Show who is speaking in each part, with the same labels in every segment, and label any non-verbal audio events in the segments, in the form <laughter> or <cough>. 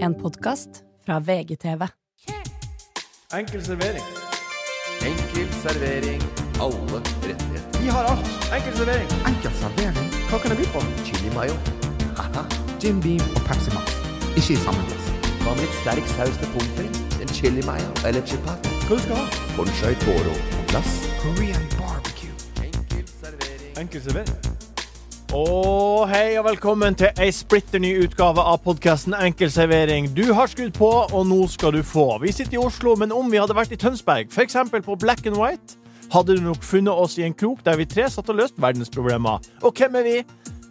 Speaker 1: En podkast fra VGTV.
Speaker 2: Enkel servering.
Speaker 3: Enkel servering. Alle rettigheter.
Speaker 2: Vi har alt. Enkel servering.
Speaker 4: Enkel servering,
Speaker 2: Hva kan jeg by på?
Speaker 3: Chili mayo. Haha.
Speaker 4: Jim Beam og Pepsi Max. Ikke i samme glass.
Speaker 3: Hva med litt sterk saus til pommes frites? En chili mayo eller chipat?
Speaker 2: Hva du skal ha?
Speaker 3: Bonchai toro på glass.
Speaker 4: Korean barbecue.
Speaker 3: Enkel servering.
Speaker 2: Enkel servering. Og hei og velkommen til ei splitter ny utgave av podkasten Enkel servering. Du har skrudd på, og nå skal du få. Vi sitter i Oslo, men om vi hadde vært i Tønsberg, f.eks. på Black and White, hadde du nok funnet oss i en krok der vi tre satt og løste verdensproblemer. Og hvem er vi?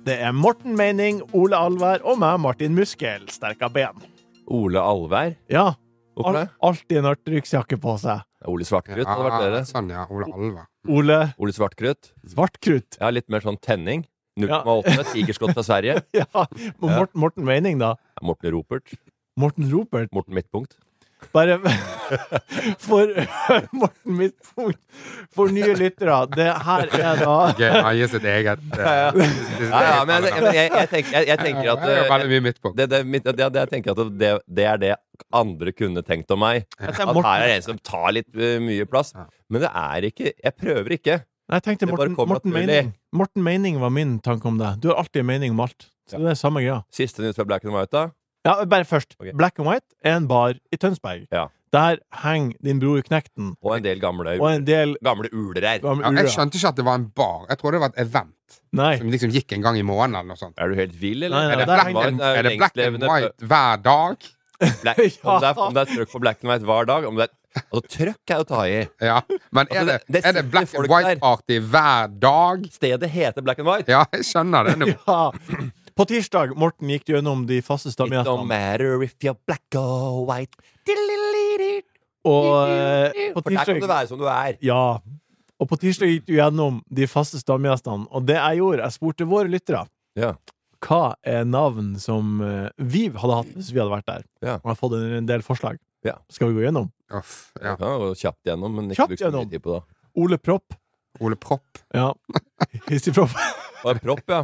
Speaker 2: Det er Morten Meining, Ole Alvær og meg, Martin Muskel. Sterka ben.
Speaker 5: Ole Alvær.
Speaker 2: Ja,
Speaker 5: Hvorfor
Speaker 2: al
Speaker 5: det?
Speaker 2: alltid en artryksjakke på seg.
Speaker 5: Det er Ole Svartkrutt hadde vært dere.
Speaker 4: Sånn, ja. Ole Alva.
Speaker 2: Ole
Speaker 5: Ole Svartkrutt.
Speaker 2: Svartkrutt.
Speaker 5: Ja, litt mer sånn tenning.
Speaker 2: Ja.
Speaker 5: 0,8. Tigerskott fra Sverige.
Speaker 2: <laughs> Ja, og
Speaker 5: Ja.
Speaker 2: Morten, Morten Meining, da.
Speaker 5: Morten Ropert.
Speaker 2: Morten Ropert.
Speaker 5: Morten Midtpunkt.
Speaker 2: Bare <laughs> for <laughs> Morten Midtpunkt, for nye lyttere. Det her er da
Speaker 4: Eie sitt eget eh,
Speaker 5: Ja, ja, men jeg, jeg, jeg, tenker, jeg, jeg tenker at
Speaker 4: Det er jo
Speaker 5: eh,
Speaker 4: veldig mye midt på.
Speaker 5: det, det, mitt- det, det, jeg tenker at det, det er det andre kunne tenkt om meg. At her er det en som tar litt eh, mye plass.
Speaker 4: Ja.
Speaker 5: Men det er ikke Jeg prøver ikke.
Speaker 2: Nei, Jeg tenkte
Speaker 5: Det bare
Speaker 2: Morten,
Speaker 5: kom
Speaker 2: Morten
Speaker 5: naturlig.
Speaker 2: Meining. Morten Meining var min tanke om det. Du har alltid en mening om alt. Så det er samme greia.
Speaker 5: Siste nytt fra Black and White, da.
Speaker 2: Ja, bare først.
Speaker 5: Ok.
Speaker 2: Black and White er en bar i Tønsberg.
Speaker 5: Ja.
Speaker 2: Der henger din bror Knekten
Speaker 5: Og en del gamle,
Speaker 2: og en del
Speaker 5: gamle uler her.
Speaker 2: gamle
Speaker 4: Ja, jeg
Speaker 2: uler.
Speaker 4: skjønte ikke at det var en bar. Jeg trodde det var et event
Speaker 2: Nei.
Speaker 4: som liksom gikk en gang i måneden eller noe sånt.
Speaker 5: Er du helt vill,
Speaker 2: Nei, nei,
Speaker 5: eller?
Speaker 4: Er det
Speaker 2: der
Speaker 4: black
Speaker 2: henger-
Speaker 4: and, er
Speaker 5: eh,
Speaker 4: det black and white hver dag?
Speaker 5: Black,
Speaker 2: <laughs> Ja.
Speaker 5: om, det er, om det er trøkk på black and white hver dag om det er, altså, Trøkk er å ta i.
Speaker 4: Ja. Men
Speaker 5: Altså,
Speaker 4: er det,
Speaker 5: det- det
Speaker 4: er det
Speaker 5: sitter
Speaker 4: black
Speaker 5: folk
Speaker 4: and
Speaker 5: der.
Speaker 4: white-party hver dag?
Speaker 5: Stedet heter black and white.
Speaker 4: Ja, jeg
Speaker 5: <laughs>
Speaker 4: skjønner det nå.
Speaker 2: Ja. På tirsdag, Morten, gikk du gjennom de faste
Speaker 5: It don't
Speaker 2: stamgjestene.
Speaker 5: matter if you're black or white.
Speaker 2: Og eh, på
Speaker 5: For der kan
Speaker 2: tirsdag
Speaker 5: du være som du er.
Speaker 2: Ja. Og på tirsdag gikk du gjennom de faste stamgjestene, og det jeg gjorde, jeg spurte våre lyttere
Speaker 5: Ja.
Speaker 2: hva er navn som eh, vi hadde hatt hvis vi hadde vært der.
Speaker 5: Ja.
Speaker 2: Og jeg har fått en, en del forslag.
Speaker 5: Ja.
Speaker 2: Skal vi gå gjennom?
Speaker 4: Uff, ja.
Speaker 5: Ja, og kjapt gjennom, men ikke
Speaker 2: Kjapt
Speaker 5: bruk så mye
Speaker 2: gjennom.
Speaker 5: tid på det.
Speaker 2: Ole Propp.
Speaker 4: Ole Propp.
Speaker 2: Ja.
Speaker 5: <laughs>
Speaker 2: Hissigpropp.
Speaker 5: Og en propp, ja.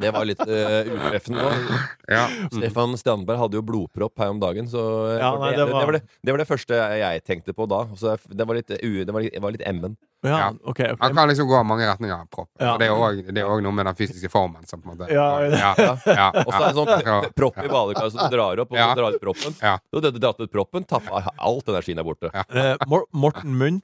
Speaker 5: Det var litt uh, utreffende. nå.
Speaker 4: Ja.
Speaker 5: Stefan Strandberg hadde jo blodpropp her om dagen, så eh,
Speaker 2: Ja,
Speaker 5: for
Speaker 2: nei,
Speaker 5: det,
Speaker 2: det
Speaker 5: det,
Speaker 2: var-
Speaker 5: var det, det var det første jeg tenkte på da. Så jeg- det var litt, eh, u- det var litt, det var litt M-en.
Speaker 2: Ja,
Speaker 4: Ja.
Speaker 2: ok. ok.
Speaker 4: Han kan liksom gå i mange retninger. Propp.
Speaker 2: Ja.
Speaker 4: Og Det er også- det er òg noe med den fysiske formen. Som på en måte
Speaker 2: Ja,
Speaker 4: ja, ja,
Speaker 5: Og så er det sånn
Speaker 4: ja.
Speaker 5: p- propp i badekaret som du drar opp, og
Speaker 4: Ja.
Speaker 5: så drar du ut proppen.
Speaker 4: Ja.
Speaker 5: Så hadde du dratt ut proppen, tappa alt energien der borte.
Speaker 2: Eh, Mor Morten Munn.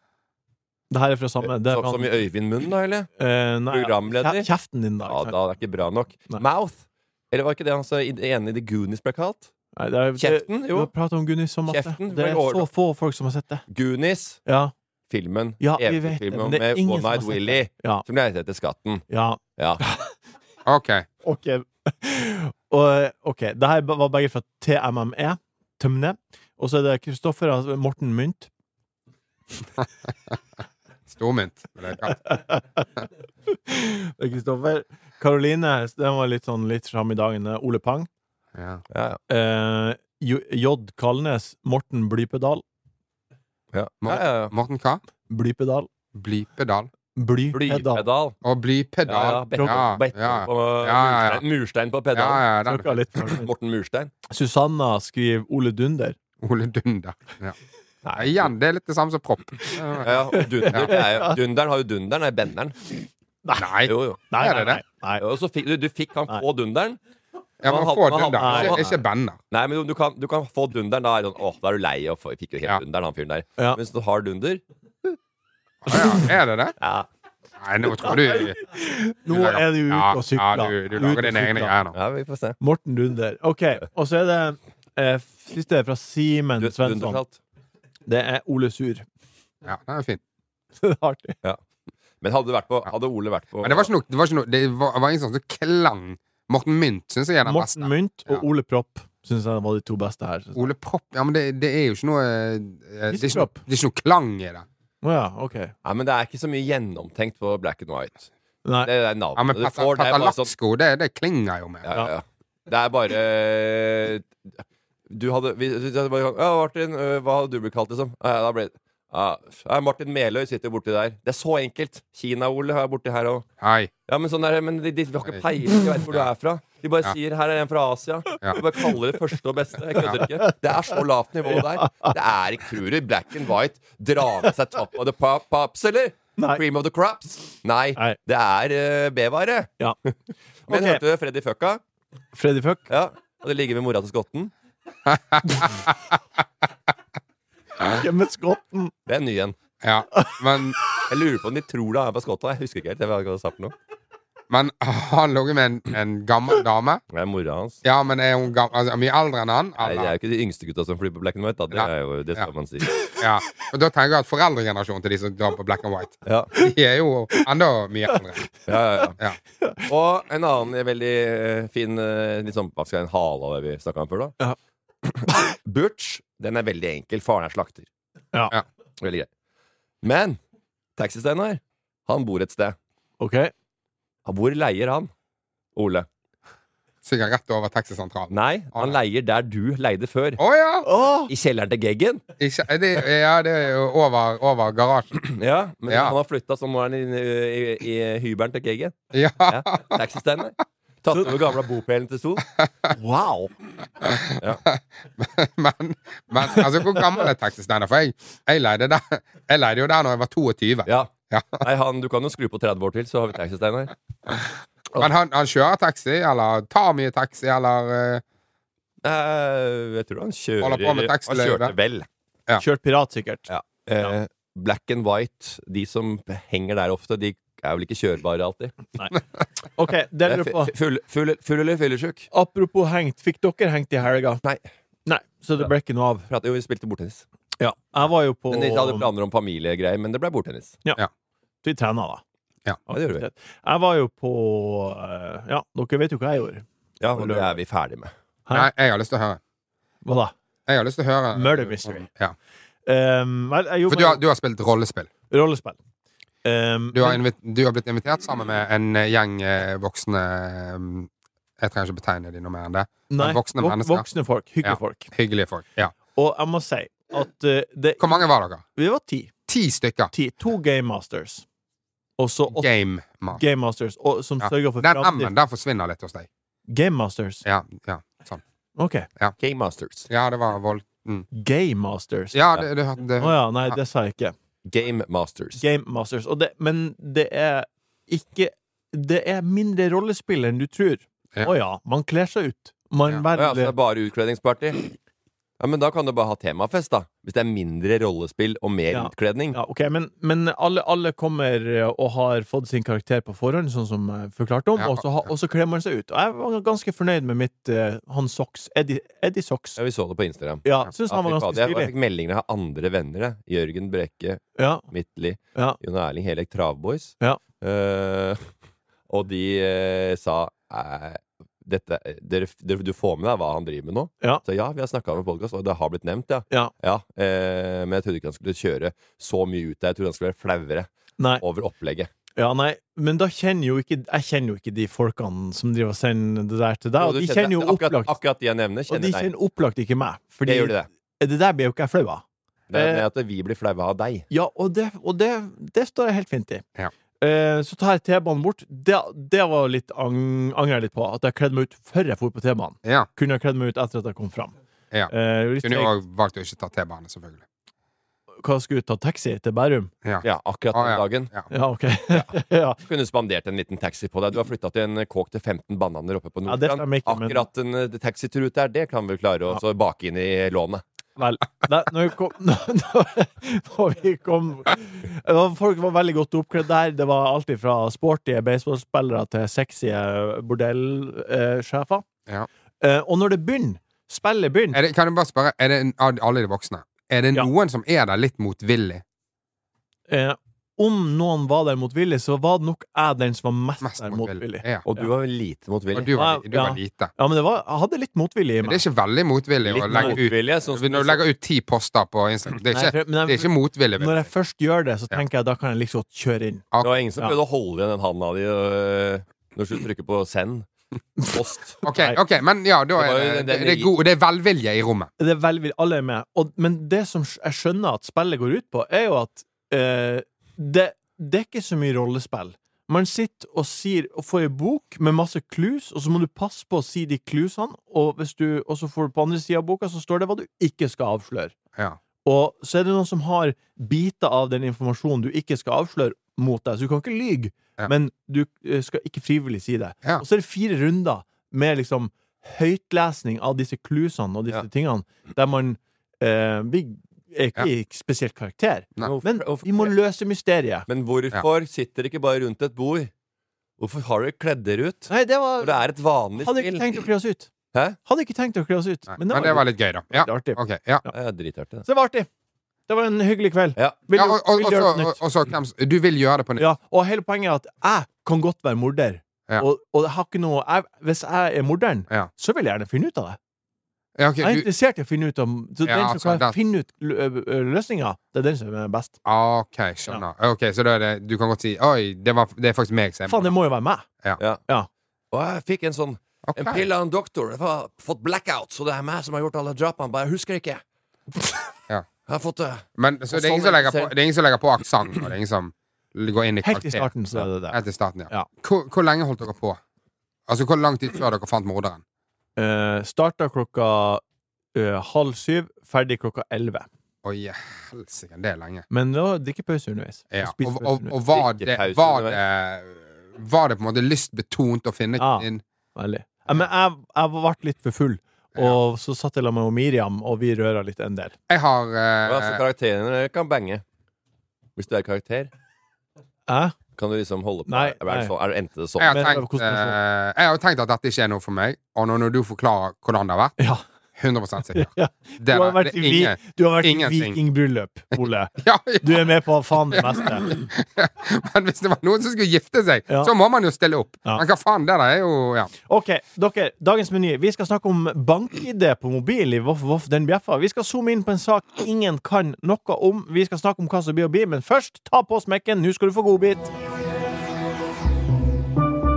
Speaker 2: Det her er fra samme. Det er
Speaker 5: Sånn
Speaker 2: fra,
Speaker 5: som i Øyvind Munn, da, eller?
Speaker 2: eh, nei,
Speaker 5: programleder.
Speaker 2: kje- Kjeften din, da.
Speaker 5: Ja,
Speaker 2: ikke sant?
Speaker 5: da er det ikke bra nok.
Speaker 2: Nei.
Speaker 5: Mouth! Eller var ikke det han sa i det ene i The Goonies ble kalt?
Speaker 2: Nei, det er, det,
Speaker 5: Kjeften,
Speaker 2: vi
Speaker 5: jo.
Speaker 2: har pratet om Gunnis så masse.
Speaker 5: Kjeften,
Speaker 2: Det er
Speaker 5: vel,
Speaker 2: så få folk som har sett det.
Speaker 5: Goonies,
Speaker 2: Ja,
Speaker 5: filmen.
Speaker 2: Ja, vi vet det, men
Speaker 5: Eventyrfilmen
Speaker 2: det er
Speaker 5: med
Speaker 2: ingen
Speaker 5: One
Speaker 2: som har sett
Speaker 5: Night Willy,
Speaker 2: ja,
Speaker 5: som leter etter skatten.
Speaker 2: ja.
Speaker 5: Ja.
Speaker 4: Ok.
Speaker 2: Ok. <laughs> Og, ok, det her var begge fra TMME, E, Tømne. Og så er det Kristoffer altså Morten Mynt. <laughs>
Speaker 4: Stormynt. vil jeg kalle det.
Speaker 2: Det er Kristoffer. Karoline, den var litt sånn litt fram i dagen. Ole Pang.
Speaker 4: Ja.
Speaker 5: Ja, ja.
Speaker 2: Eh, J. J. Kalnes. Morten Blypedal.
Speaker 5: Ja. Ja, ja, ja.
Speaker 4: Morten hva?
Speaker 2: Blypedal.
Speaker 4: Blypedal.
Speaker 2: Blypedal.
Speaker 5: Blypedal.
Speaker 4: Og
Speaker 5: Ja, ja.
Speaker 4: blypedal.
Speaker 5: Better,
Speaker 4: Ja,
Speaker 5: better
Speaker 4: ja.
Speaker 5: på
Speaker 4: ja, ja.
Speaker 5: Murstein, murstein på
Speaker 4: Ja,
Speaker 5: pedal.
Speaker 4: ja, den.
Speaker 2: Snakket
Speaker 4: <laughs>
Speaker 2: litt for meg.
Speaker 5: Morten Murstein.
Speaker 2: Susanna skriver Ole Dunder.
Speaker 4: Ole Dunder. Ja.
Speaker 5: Nei.
Speaker 4: Igjen, det er litt det samme som propp.
Speaker 5: <laughs> Ja, ja. og Dunder, det er jo, dunderen har jo dunderen, nei, benderen.
Speaker 4: Nei.
Speaker 5: Jo, jo.
Speaker 2: Nei,
Speaker 4: Er
Speaker 2: nei,
Speaker 4: det
Speaker 2: nei.
Speaker 4: det?
Speaker 2: nei.
Speaker 5: Og så fikk, du, du fikk han
Speaker 2: Nei.
Speaker 5: få dunderen.
Speaker 4: Jeg
Speaker 5: Man
Speaker 4: må få
Speaker 5: hadde- man
Speaker 4: dunder.
Speaker 2: hadde-
Speaker 4: Ikke, ikke banner.
Speaker 5: Nei, men du- du kan, du kan få dunderen. Da er det sånn, åh, da er du lei. Og få- fikk jo helt
Speaker 4: Ja.
Speaker 5: dunderen, han fyren der.
Speaker 2: Ja.
Speaker 5: Mens du har dunder
Speaker 4: Å Ja, er det det?
Speaker 5: ja.
Speaker 4: Nei, nå tror du
Speaker 2: Nå er du ute og
Speaker 4: Ja,
Speaker 2: sykler.
Speaker 4: du,
Speaker 2: Ute
Speaker 4: du
Speaker 2: og
Speaker 4: lager dine egne
Speaker 2: sykler.
Speaker 4: greier nå.
Speaker 5: ja, vi får se.
Speaker 2: Morten Dunder. OK. Og så er det eh, siste er fra Simen
Speaker 5: Du-
Speaker 2: Svensson.
Speaker 5: Dundersalt.
Speaker 2: Det er Ole Sur. <laughs>
Speaker 4: Ja, det er jo fint.
Speaker 2: Det er artig.
Speaker 5: Men hadde, du vært på, hadde Ole vært på
Speaker 4: Men det var ikke noe Det var, ikke noe, det var, var ingen sånn som klang. Morten Mynt syns jeg er den
Speaker 2: Morten
Speaker 4: beste.
Speaker 2: Mynt og
Speaker 4: Ja.
Speaker 2: Ole Propp syns jeg var de to beste her. synes jeg.
Speaker 4: Ole Propp Ja, men det, det er jo ikke noe eh, eh, Det er ikke
Speaker 2: Hissepropp.
Speaker 4: noe, det er ikke noe klang i det.
Speaker 2: Å ja, OK.
Speaker 5: Ja, men det er ikke så mye gjennomtenkt på black and white.
Speaker 2: Nei.
Speaker 5: Det er
Speaker 4: Ja, men
Speaker 5: navnet du får. Det er bare sånn
Speaker 4: Patalatsko, det, det klinger jo med.
Speaker 5: ja, ja, ja. Det er bare eh, Du hadde vi, vi hadde bare, Ja, Martin, eh, hva hadde du blitt kalt, liksom? Ja, da ble det ja, ja, Martin Meløy sitter borti der. Det er så enkelt. Kina-Ole er borti her òg.
Speaker 4: Hei.
Speaker 5: Ja, men sånn er det, men de, de har ikke peiling. De vet hvor du er fra. De bare
Speaker 4: Ja.
Speaker 5: sier 'her er en fra Asia'.
Speaker 4: Ja.
Speaker 5: De bare kaller det første og beste. Jeg kødder ikke. Det er så lavt nivå der. Det er ikke tror du black and white dra med seg top of the pop pops, eller?
Speaker 2: Nei.
Speaker 5: Cream of the crops? Nei.
Speaker 2: Nei.
Speaker 5: Det er eh, B-vare.
Speaker 2: Ja.
Speaker 5: Men
Speaker 2: Ok.
Speaker 5: hørte du Freddy Fucka?
Speaker 2: Freddy Fuck.
Speaker 5: Ja. Og det ligger ved mora til skotten.
Speaker 2: Kjemmet skotten.
Speaker 5: Det er en ny en.
Speaker 4: Ja,
Speaker 2: <laughs>
Speaker 4: men,
Speaker 5: Jeg lurer på om de tror det er på skotta. Jeg husker ikke helt. Jeg vet ikke hva det sa for noe.
Speaker 4: men <laughs> han lå jo med en, en gammel dame.
Speaker 5: Det er mora hans.
Speaker 4: Ja, men er hun gammel, altså, mye eldre enn han?
Speaker 5: Nei, det er
Speaker 4: Eller?
Speaker 5: jo ikke de yngste gutta som flyr på black and white. Da. Det,
Speaker 4: Ja.
Speaker 5: er jo, det skal
Speaker 4: Ja.
Speaker 5: man si.
Speaker 4: Ja. Og da tenker jeg at foreldregenerasjonen til de som drar på black and white,
Speaker 5: Ja.
Speaker 4: de er jo enda mye eldre.
Speaker 5: Ja, ja, ja.
Speaker 4: Ja.
Speaker 5: Og en annen veldig eh, fin eh, litt sånn, Hva skal jeg en hale av det vi snakka om før, da? <coughs> Butch, den er veldig enkel. Faren er slakter.
Speaker 2: Ja.
Speaker 4: Ja.
Speaker 5: Veldig grei. Men Taxi-Steinar, han bor et sted.
Speaker 2: OK.
Speaker 5: Hvor leier han? Ole.
Speaker 4: Sikkert rett over taxisentralen.
Speaker 5: Nei, han leier der du leide før.
Speaker 4: Å ja!
Speaker 2: Åh,
Speaker 5: I kjelleren til Geggen. <clears throat>
Speaker 4: Ikke, er det, ja, det er jo over, over garasjen. <laughs>
Speaker 5: Ja, men
Speaker 4: Ja.
Speaker 5: han har flytta, så nå er han i, i, i hybelen til Geggen.
Speaker 4: Ja. <laughs>
Speaker 5: Ja. Taxi-Steinar. Tatt over gamle bopelen til Sol.
Speaker 2: wow.
Speaker 4: Men, men altså, hvor gammel er taxisteiner? For jeg, jeg, leide der, jeg leide jo der når jeg var 22.
Speaker 5: Ja.
Speaker 4: Ja.
Speaker 5: Nei, han, du kan jo skru på 30 år til, så har vi Taxi-Steinar.
Speaker 4: Men han, han kjører taxi, eller tar mye taxi, eller eh,
Speaker 5: Eh, jeg tror han kjører
Speaker 4: Holder på med
Speaker 5: Han
Speaker 4: taxiløyve.
Speaker 5: kjørte vel.
Speaker 4: Ja.
Speaker 2: Kjørt pirat, sikkert.
Speaker 5: Ja. Eh, Black and white, de som henger der ofte, de er vel ikke kjørbare alltid.
Speaker 2: OK, det
Speaker 5: Eh,
Speaker 2: lurer
Speaker 5: fu-
Speaker 2: på.
Speaker 5: Full, full, full eller fyllesjuk?
Speaker 2: Apropos hengt. Fikk dere hengt i helga?
Speaker 5: Nei.
Speaker 2: Nei, Så det ble ikke noe av.
Speaker 5: Prater jo, vi spilte bordtennis.
Speaker 2: Ja. Jeg var jo på
Speaker 5: Men de hadde planer om familiegreier, men det ble bordtennis.
Speaker 2: Vi trener, da.
Speaker 5: Ja, det gjorde vi.
Speaker 2: Jeg var jo på eh, Ja, dere vet jo hva jeg gjorde.
Speaker 5: Ja, og det er vi ferdig med.
Speaker 2: Hæ?
Speaker 4: Nei, jeg har lyst til å høre.
Speaker 2: Hva da?
Speaker 4: Jeg har lyst til å høre
Speaker 2: Murder mystery.
Speaker 4: Ja.
Speaker 2: Ehm, vel, jeg
Speaker 4: For
Speaker 2: gjorde
Speaker 4: du har, du har spilt rollespill.
Speaker 2: rollespill. Ehm,
Speaker 4: Du har, invit, du har blitt invitert sammen med en eh, gjeng eh, voksne eh, Jeg trenger ikke betegne de noe mer enn det.
Speaker 2: nei,
Speaker 4: voksne
Speaker 2: vok-
Speaker 4: mennesker.
Speaker 2: Voksne folk.
Speaker 4: Ja.
Speaker 2: Hyggelige folk.
Speaker 4: Hyggelige folk. Ja.
Speaker 2: Og jeg må si at eh, det
Speaker 4: Hvor mange var dere?
Speaker 2: Vi var ti.
Speaker 4: Ti stykker.
Speaker 2: ti to Game Masters. Og så åtte
Speaker 4: Game man.
Speaker 2: Game Masters, og, som
Speaker 4: Ja.
Speaker 2: sørger for
Speaker 4: Den
Speaker 2: framtid.
Speaker 4: M-en der forsvinner litt hos deg.
Speaker 2: Game Masters.
Speaker 4: Ja, ja, sånn.
Speaker 2: OK.
Speaker 5: Game Masters.
Speaker 4: ja det var vold... Mm.
Speaker 2: Game Masters. Å
Speaker 4: Ja, det, det, det,
Speaker 2: ja, nei, det sa jeg ikke.
Speaker 5: Game Masters.
Speaker 2: Game Masters. Og det, men det er ikke Det er mindre rollespill enn du tror. Å
Speaker 4: Ja.
Speaker 2: ja. man kler seg ut. Man
Speaker 4: Ja.
Speaker 5: Å Ja, altså, så det
Speaker 2: velger
Speaker 5: er bare utkledningsparty? Ja, men da kan du bare ha temafest, da. Hvis det er mindre rollespill og mer
Speaker 2: Ja.
Speaker 5: utkledning.
Speaker 2: ja, ok, men, men alle, alle kommer eh, og har fått sin karakter på forhånd, sånn som jeg forklarte om,
Speaker 4: Ja,
Speaker 2: og, så ha,
Speaker 4: ja.
Speaker 2: og så kler man seg ut. Og jeg var ganske fornøyd med mitt eh, han Socks, Eddie, Eddie Socks.
Speaker 5: Ja, vi så det på Instagram.
Speaker 2: Ja, syns
Speaker 5: Ja,
Speaker 2: han
Speaker 5: fy
Speaker 2: var
Speaker 5: fader,
Speaker 2: ganske
Speaker 5: jeg, jeg
Speaker 2: stilig.
Speaker 5: fikk meldinger av andre venner. jeg. Jørgen Brekke,
Speaker 2: Ja,
Speaker 5: Midtli,
Speaker 2: ja.
Speaker 5: Jon Erling Helek Travboys.
Speaker 2: Ja.
Speaker 5: Eh, <laughs> og de eh, sa eh, dette, eh, dere, dere, Du får med deg hva han driver med nå?
Speaker 2: Ja.
Speaker 5: Så ja, vi har snakka med podkast, og det har blitt nevnt, ja.
Speaker 2: Ja.
Speaker 5: eh, men jeg trodde ikke han skulle kjøre så mye ut der. Jeg trodde han skulle være flauere
Speaker 2: Nei.
Speaker 5: over opplegget.
Speaker 2: Ja, nei, men da kjenner jo ikke Jeg kjenner jo ikke de folkene som driver og sender det der til deg.
Speaker 5: Jo,
Speaker 2: Og
Speaker 5: du
Speaker 2: de
Speaker 5: kjenner-
Speaker 2: kjenner jo
Speaker 5: akkurat,
Speaker 2: opplagt
Speaker 5: akkurat de jeg nevner,
Speaker 2: Og de
Speaker 5: kjenner deg.
Speaker 2: kjenner opplagt ikke meg. Fordi
Speaker 5: Det gjør de det.
Speaker 2: det der blir jo ikke jeg flau av.
Speaker 5: Det er
Speaker 2: Eh,
Speaker 5: mer at vi blir flaue av deg.
Speaker 2: Ja, og det, og det, det står jeg helt fint i.
Speaker 4: Ja.
Speaker 2: Eh, så tar jeg T-banen bort. Det, det var litt ang, angrer jeg litt på. At jeg kledde meg ut før jeg for på T-banen.
Speaker 4: ja.
Speaker 2: Kunne jeg kledd meg ut etter at jeg kom fram.
Speaker 4: Ja.
Speaker 2: Eh, litt
Speaker 4: Kunne jo
Speaker 2: treg.
Speaker 4: også valgt å ikke ta T-bane, selvfølgelig.
Speaker 2: Hva skulle jeg ta taxi til Bærum?
Speaker 5: Ja, akkurat
Speaker 4: Å,
Speaker 5: den
Speaker 4: ja.
Speaker 5: dagen.
Speaker 4: Ja.
Speaker 2: Ja, OK. <laughs> ja.
Speaker 5: Kunne spandert en liten taxi på deg. Du har flytta til en kåk til 15 bananer oppe på
Speaker 2: Ja, det
Speaker 5: Nordstrand.
Speaker 2: stemmer ikke, men-
Speaker 5: Akkurat en eh, taxitur ut der, det kan vi klare å så bake inn i lånet.
Speaker 2: Vel, da når vi kom, <laughs> når, når vi kom det var, Folk var veldig godt oppkledd der. Det var alt fra sporty baseballspillere til sexy eh, bordellsjefer.
Speaker 4: Ja.
Speaker 2: Eh, og når det begynner, spillet begynner
Speaker 4: Er det, kan du bare spørre, er det en- av alle de voksne Er det
Speaker 2: Ja.
Speaker 4: noen som er der litt motvillig?
Speaker 2: eh, Om noen var der motvillig, så var det nok jeg den som var mest,
Speaker 4: Mest
Speaker 2: der motvillig.
Speaker 4: motvillig. Ja.
Speaker 5: Og du
Speaker 2: Ja.
Speaker 5: var lite
Speaker 4: Og
Speaker 5: motvillig.
Speaker 4: du var, du
Speaker 2: Ja.
Speaker 4: var lite.
Speaker 2: Ja, men det var, jeg hadde litt motvillig i
Speaker 4: Men
Speaker 2: meg.
Speaker 4: det er ikke veldig motvillig å
Speaker 5: Litt
Speaker 4: legge ut
Speaker 5: motvillig. Sånn som
Speaker 4: Når du
Speaker 5: du
Speaker 4: legger ut ti poster på Instagram Det er
Speaker 2: Nei,
Speaker 4: ikke,
Speaker 2: for- men
Speaker 4: det er
Speaker 2: jeg,
Speaker 4: ikke motvillig. vil
Speaker 2: når
Speaker 4: jeg
Speaker 2: jeg først gjør det, så
Speaker 4: Ja.
Speaker 2: tenker jeg da kan jeg liksom godt kjøre inn.
Speaker 5: Det var ingen som
Speaker 2: Ja.
Speaker 5: prøvde å holde igjen den handa di øh, når du trykker på send. Post.
Speaker 4: si. Ok, ok, men ja, da
Speaker 5: Det var
Speaker 4: er
Speaker 5: jo den-
Speaker 4: det, det,
Speaker 5: den-
Speaker 4: er god, det er velvilje i rommet.
Speaker 2: Det er velvillig, alle er med. Og, men det som sk- jeg skjønner at spillet går ut på, er jo at eh, det, det er ikke så mye rollespill. Man sitter og, sier, og får ei bok med masse clues, og så må du passe på å si de clusene, og, hvis du, og så får du på andre sida av boka, så står det hva du ikke skal avsløre.
Speaker 4: Ja.
Speaker 2: Og så er det noen som har biter av den informasjonen du ikke skal avsløre, mot deg. Så du kan ikke lyge,
Speaker 4: Ja.
Speaker 2: men du eh, skal ikke frivillig si det.
Speaker 4: Ja.
Speaker 2: Og så er det fire runder med liksom høytlesning av disse klusene og disse
Speaker 5: Ja.
Speaker 2: tingene, der man eh, blir er ikke
Speaker 4: Ja.
Speaker 2: i spesielt karakter.
Speaker 4: Nei.
Speaker 2: Men vi må løse mysteriet.
Speaker 5: Men hvorfor sitter dere ikke bare rundt et bord? Hvorfor har dere kledd dere ut?
Speaker 2: Nei, det
Speaker 5: For
Speaker 2: var
Speaker 5: det er et vanlig
Speaker 2: Hadde ikke
Speaker 5: spill.
Speaker 2: tenkt å kle oss ut.
Speaker 5: Hæ?
Speaker 2: Hadde ikke tenkt å kle oss ut.
Speaker 4: Nei. Men det var litt gøy, da. Ja.
Speaker 2: litt artig.
Speaker 4: Ok, ja.
Speaker 5: Ja, jeg er dritartig. altså.
Speaker 2: Så det var artig. Det var en hyggelig kveld.
Speaker 5: Ja.
Speaker 2: Vil
Speaker 4: ja
Speaker 2: du,
Speaker 4: og, og,
Speaker 2: vil
Speaker 4: og,
Speaker 2: du gjøre
Speaker 4: så,
Speaker 2: noe
Speaker 4: og,
Speaker 2: nytt?
Speaker 4: og så, Klems, du vil gjøre det på nytt.
Speaker 2: Ja, og hele poenget er at jeg kan godt være morder,
Speaker 4: Ja.
Speaker 2: og, og jeg har ikke noe jeg, Hvis jeg er morderen,
Speaker 4: Ja.
Speaker 2: så vil jeg gjerne finne ut av det.
Speaker 4: Ja, ok,
Speaker 2: Jeg er
Speaker 4: du,
Speaker 2: interessert i å finne ut om Så
Speaker 4: Ja,
Speaker 2: den som
Speaker 4: altså,
Speaker 2: klarer
Speaker 4: da-
Speaker 2: å finne ut lø- ø- ø- løsninga, det er den som er best.
Speaker 4: Ah, ok, skjønner. Ok, Så da er det, du kan godt si Oi, det, var, det er faktisk meg som er
Speaker 2: Faen, det må jo være meg.
Speaker 5: Og jeg fikk en sånn
Speaker 4: Ok.
Speaker 5: En pille av en doktor. Jeg har fått blackout, så det er meg som har gjort alle drapene. Bare jeg husker ikke.
Speaker 4: Ja.
Speaker 5: Jeg har fått eh, det.
Speaker 4: Men så det er ingen
Speaker 5: sånn
Speaker 4: som legger på, det er ingen som legger på aksent, og det er ingen som går inn i
Speaker 2: Helt
Speaker 4: karakter.
Speaker 2: i starten, så er det det.
Speaker 4: Helt i starten, ja.
Speaker 2: Ja.
Speaker 4: Hvor, hvor lenge holdt dere på? Altså, hvor lang tid før dere fant morderen?
Speaker 2: Uh, Starta klokka ø, halv syv, ferdig klokka elleve.
Speaker 4: Oi, helsike, det er lenge.
Speaker 2: Men det var drikkepause underveis.
Speaker 4: Ja.
Speaker 2: spise
Speaker 4: Og,
Speaker 2: pause
Speaker 4: og,
Speaker 2: underveis.
Speaker 4: og var, det,
Speaker 5: Drikkepause
Speaker 4: var, det, var det på en måte lystbetont å finne
Speaker 2: Ja.
Speaker 4: inn
Speaker 2: Veldig. Ja, men jeg, jeg ble litt for full, og så satt jeg sammen med Miriam, og vi røra litt en del.
Speaker 4: Jeg har
Speaker 5: Og altså,
Speaker 4: eh,
Speaker 5: karakterene kan bange. Hvis du er karakter,
Speaker 2: Hæ?
Speaker 5: kan du liksom holde på.
Speaker 2: Nei,
Speaker 5: er, det
Speaker 2: nei.
Speaker 5: sånn, er det endte det sånn?
Speaker 4: jeg har,
Speaker 2: Men-
Speaker 4: tenkt, eh, jeg har jo tenkt at dette ikke er noe for meg, og når, når du forklarer hvordan det har vært
Speaker 2: Ja. <laughs>
Speaker 4: 100 sikker.
Speaker 2: ja.
Speaker 4: Det
Speaker 2: Du har
Speaker 4: er,
Speaker 2: vært
Speaker 4: det
Speaker 2: i
Speaker 4: er
Speaker 2: vi-
Speaker 4: ingen
Speaker 2: Du har vært i
Speaker 4: Ingenting.
Speaker 2: vikingbryllup, Ole.
Speaker 4: <laughs> ja,
Speaker 2: Du
Speaker 4: ja.
Speaker 2: er med på faen det meste.
Speaker 4: <laughs> Men hvis det var noen som skulle gifte seg,
Speaker 2: Ja.
Speaker 4: så må man jo stille opp.
Speaker 2: Ja.
Speaker 4: Men hva faen, det der er jo ja.
Speaker 2: Ok, dere, dagens meny. Vi skal snakke om bank-ID på mobil i Voff Voff den bjeffa. Vi skal zoome inn på en sak ingen kan noe om. Vi skal snakke om hva som blir å bli, men først, ta på smekken. Nå skal du få godbit.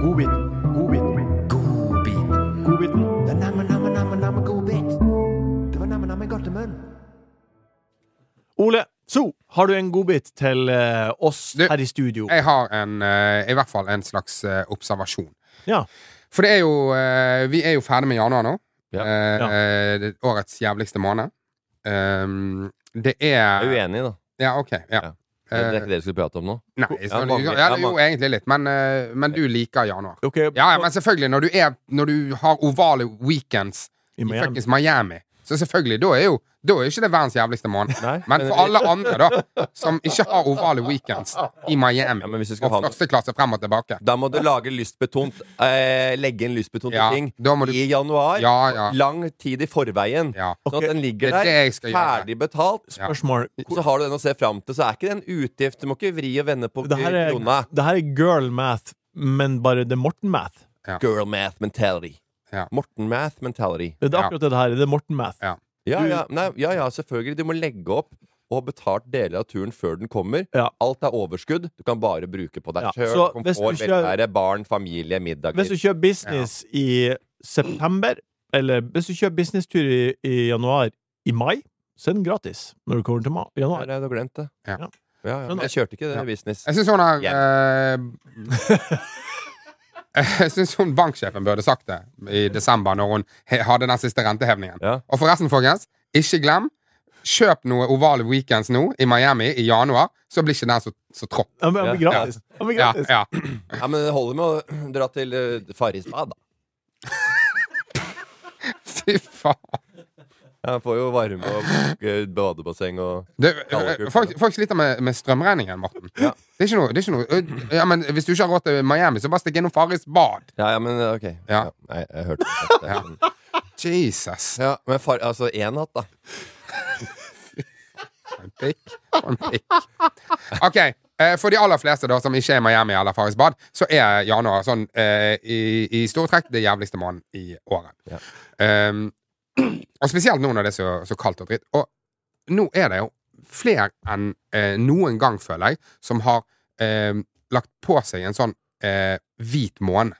Speaker 2: Godbit. Godbit. Godbiten.
Speaker 3: Det er namme, namme, namme, namme god bit. Det var namme, namme godtemunn.
Speaker 2: Ole, så har du en godbit til eh, oss
Speaker 4: Du,
Speaker 2: her i studio.
Speaker 4: Jeg har en, eh, i hvert fall en slags eh, observasjon.
Speaker 2: Ja.
Speaker 4: For det er jo eh, Vi er jo ferdig med januar nå.
Speaker 5: Ja.
Speaker 4: Eh,
Speaker 2: Ja.
Speaker 4: eh, det- årets jævligste måned. Um, det
Speaker 5: Jeg er
Speaker 4: er
Speaker 5: uenig, da.
Speaker 4: Ja, OK. Ja.
Speaker 5: Ja. Det er
Speaker 4: Eh,
Speaker 5: ikke det vi skulle prate om nå.
Speaker 4: nei,
Speaker 5: Ja,
Speaker 4: så,
Speaker 5: mange.
Speaker 4: ja, det er
Speaker 5: Ja,
Speaker 4: jo
Speaker 5: mange.
Speaker 4: egentlig litt, men, eh, men du liker januar.
Speaker 2: Dere
Speaker 4: Ja, ja, men selvfølgelig, når du, er, når du har ovale weekends
Speaker 2: i
Speaker 4: i
Speaker 2: Miami.
Speaker 4: fuckings Miami, så selvfølgelig, da er jo da er jo ikke det verdens jævligste måned.
Speaker 5: Nei,
Speaker 4: Men for alle andre, da, som ikke har ovale weekends i Miami,
Speaker 5: Ja, men hvis du skal
Speaker 4: og
Speaker 5: ha noe
Speaker 4: første klasse frem og tilbake
Speaker 5: Da må du lage lystbetont eh, Legge inn lystbetonte
Speaker 4: Ja,
Speaker 5: ting
Speaker 4: da må du-
Speaker 5: i januar.
Speaker 4: Ja, ja.
Speaker 5: Lang tid i forveien.
Speaker 4: Ja.
Speaker 5: Sånn at den
Speaker 4: Det
Speaker 5: ligger
Speaker 4: er det
Speaker 5: der,
Speaker 4: jeg skal gjøre.
Speaker 5: ferdig betalt.
Speaker 4: Ja.
Speaker 2: Spørsmål.
Speaker 5: Så har du den å se fram til. Så er ikke det en utgift. Du må ikke vri og vende på
Speaker 2: Det her er,
Speaker 5: krona.
Speaker 2: det her er girl math, men bare det er Morten math.
Speaker 5: Girl math mentality.
Speaker 4: Ja.
Speaker 5: Morten math mentality.
Speaker 2: Det er
Speaker 4: Ja.
Speaker 2: akkurat det her. Det er Morten math.
Speaker 4: Ja.
Speaker 5: Ja,
Speaker 2: Du-
Speaker 5: ja, nei, ja, ja, selvfølgelig. Du må legge opp og ha betalt deler av turen før den kommer.
Speaker 2: Ja.
Speaker 5: Alt er overskudd. Du kan bare bruke på deg
Speaker 2: Ja,
Speaker 5: sjøl.
Speaker 2: så hvis du
Speaker 5: Komfort,
Speaker 2: kjører-
Speaker 5: velvære, barn, familie, middager.
Speaker 2: Hvis du kjører business i september, eller hvis du kjører businesstur i, i januar i mai, så er den gratis når du kommer til ma-
Speaker 5: Nei,
Speaker 2: januar.
Speaker 5: nei, du har glemt det.
Speaker 4: Ja.
Speaker 5: Ja,
Speaker 2: Sånn.
Speaker 5: ja, men Jeg kjørte ikke det
Speaker 4: Ja.
Speaker 5: business.
Speaker 4: Jeg syns hun har eh, <laughs> Jeg syns hun banksjefen burde sagt det i desember, når hun he- hadde den siste rentehevingen.
Speaker 5: Ja.
Speaker 4: Og forresten, folkens, ikke glem Kjøp noe Oval Weekends nå i Miami i januar, så blir ikke den så, så trått.
Speaker 2: Den blir
Speaker 5: Ja.
Speaker 2: gratis. Den blir
Speaker 4: Ja,
Speaker 2: gratis.
Speaker 4: ja. <laughs>
Speaker 5: Ja, men det holder med å <clears throat> dra til uh, Farrisbad, da.
Speaker 4: Fy faen.
Speaker 5: Jeg får jo varme og eh, badebasseng og
Speaker 4: Det,
Speaker 5: Kalde
Speaker 4: eh, folk, folk sliter med, med strømregningen, Morten. Det er ikke noe, det er ikke noe ja, men Hvis du ikke har råd til Miami, så bare stikk innom Farris bad.
Speaker 5: Ja, ja, men eh, OK.
Speaker 4: Ja.
Speaker 5: nei, jeg hørte det.
Speaker 4: Ja.
Speaker 5: Men-
Speaker 4: Jesus.
Speaker 5: Ja, men far, altså én natt, da.
Speaker 4: En pikk. En pikk. OK. eh, For de aller fleste da, som ikke er i Miami eller Farris Bad, så er januar sånn eh, i, i store trekk det jævligste måneden i året.
Speaker 5: Ja.
Speaker 4: Ehm, og spesielt nå når det er så, så kaldt og dritt. Og nå er det jo flere enn eh, noen gang, føler jeg, som har eh, lagt på seg en sånn eh, hvit måned.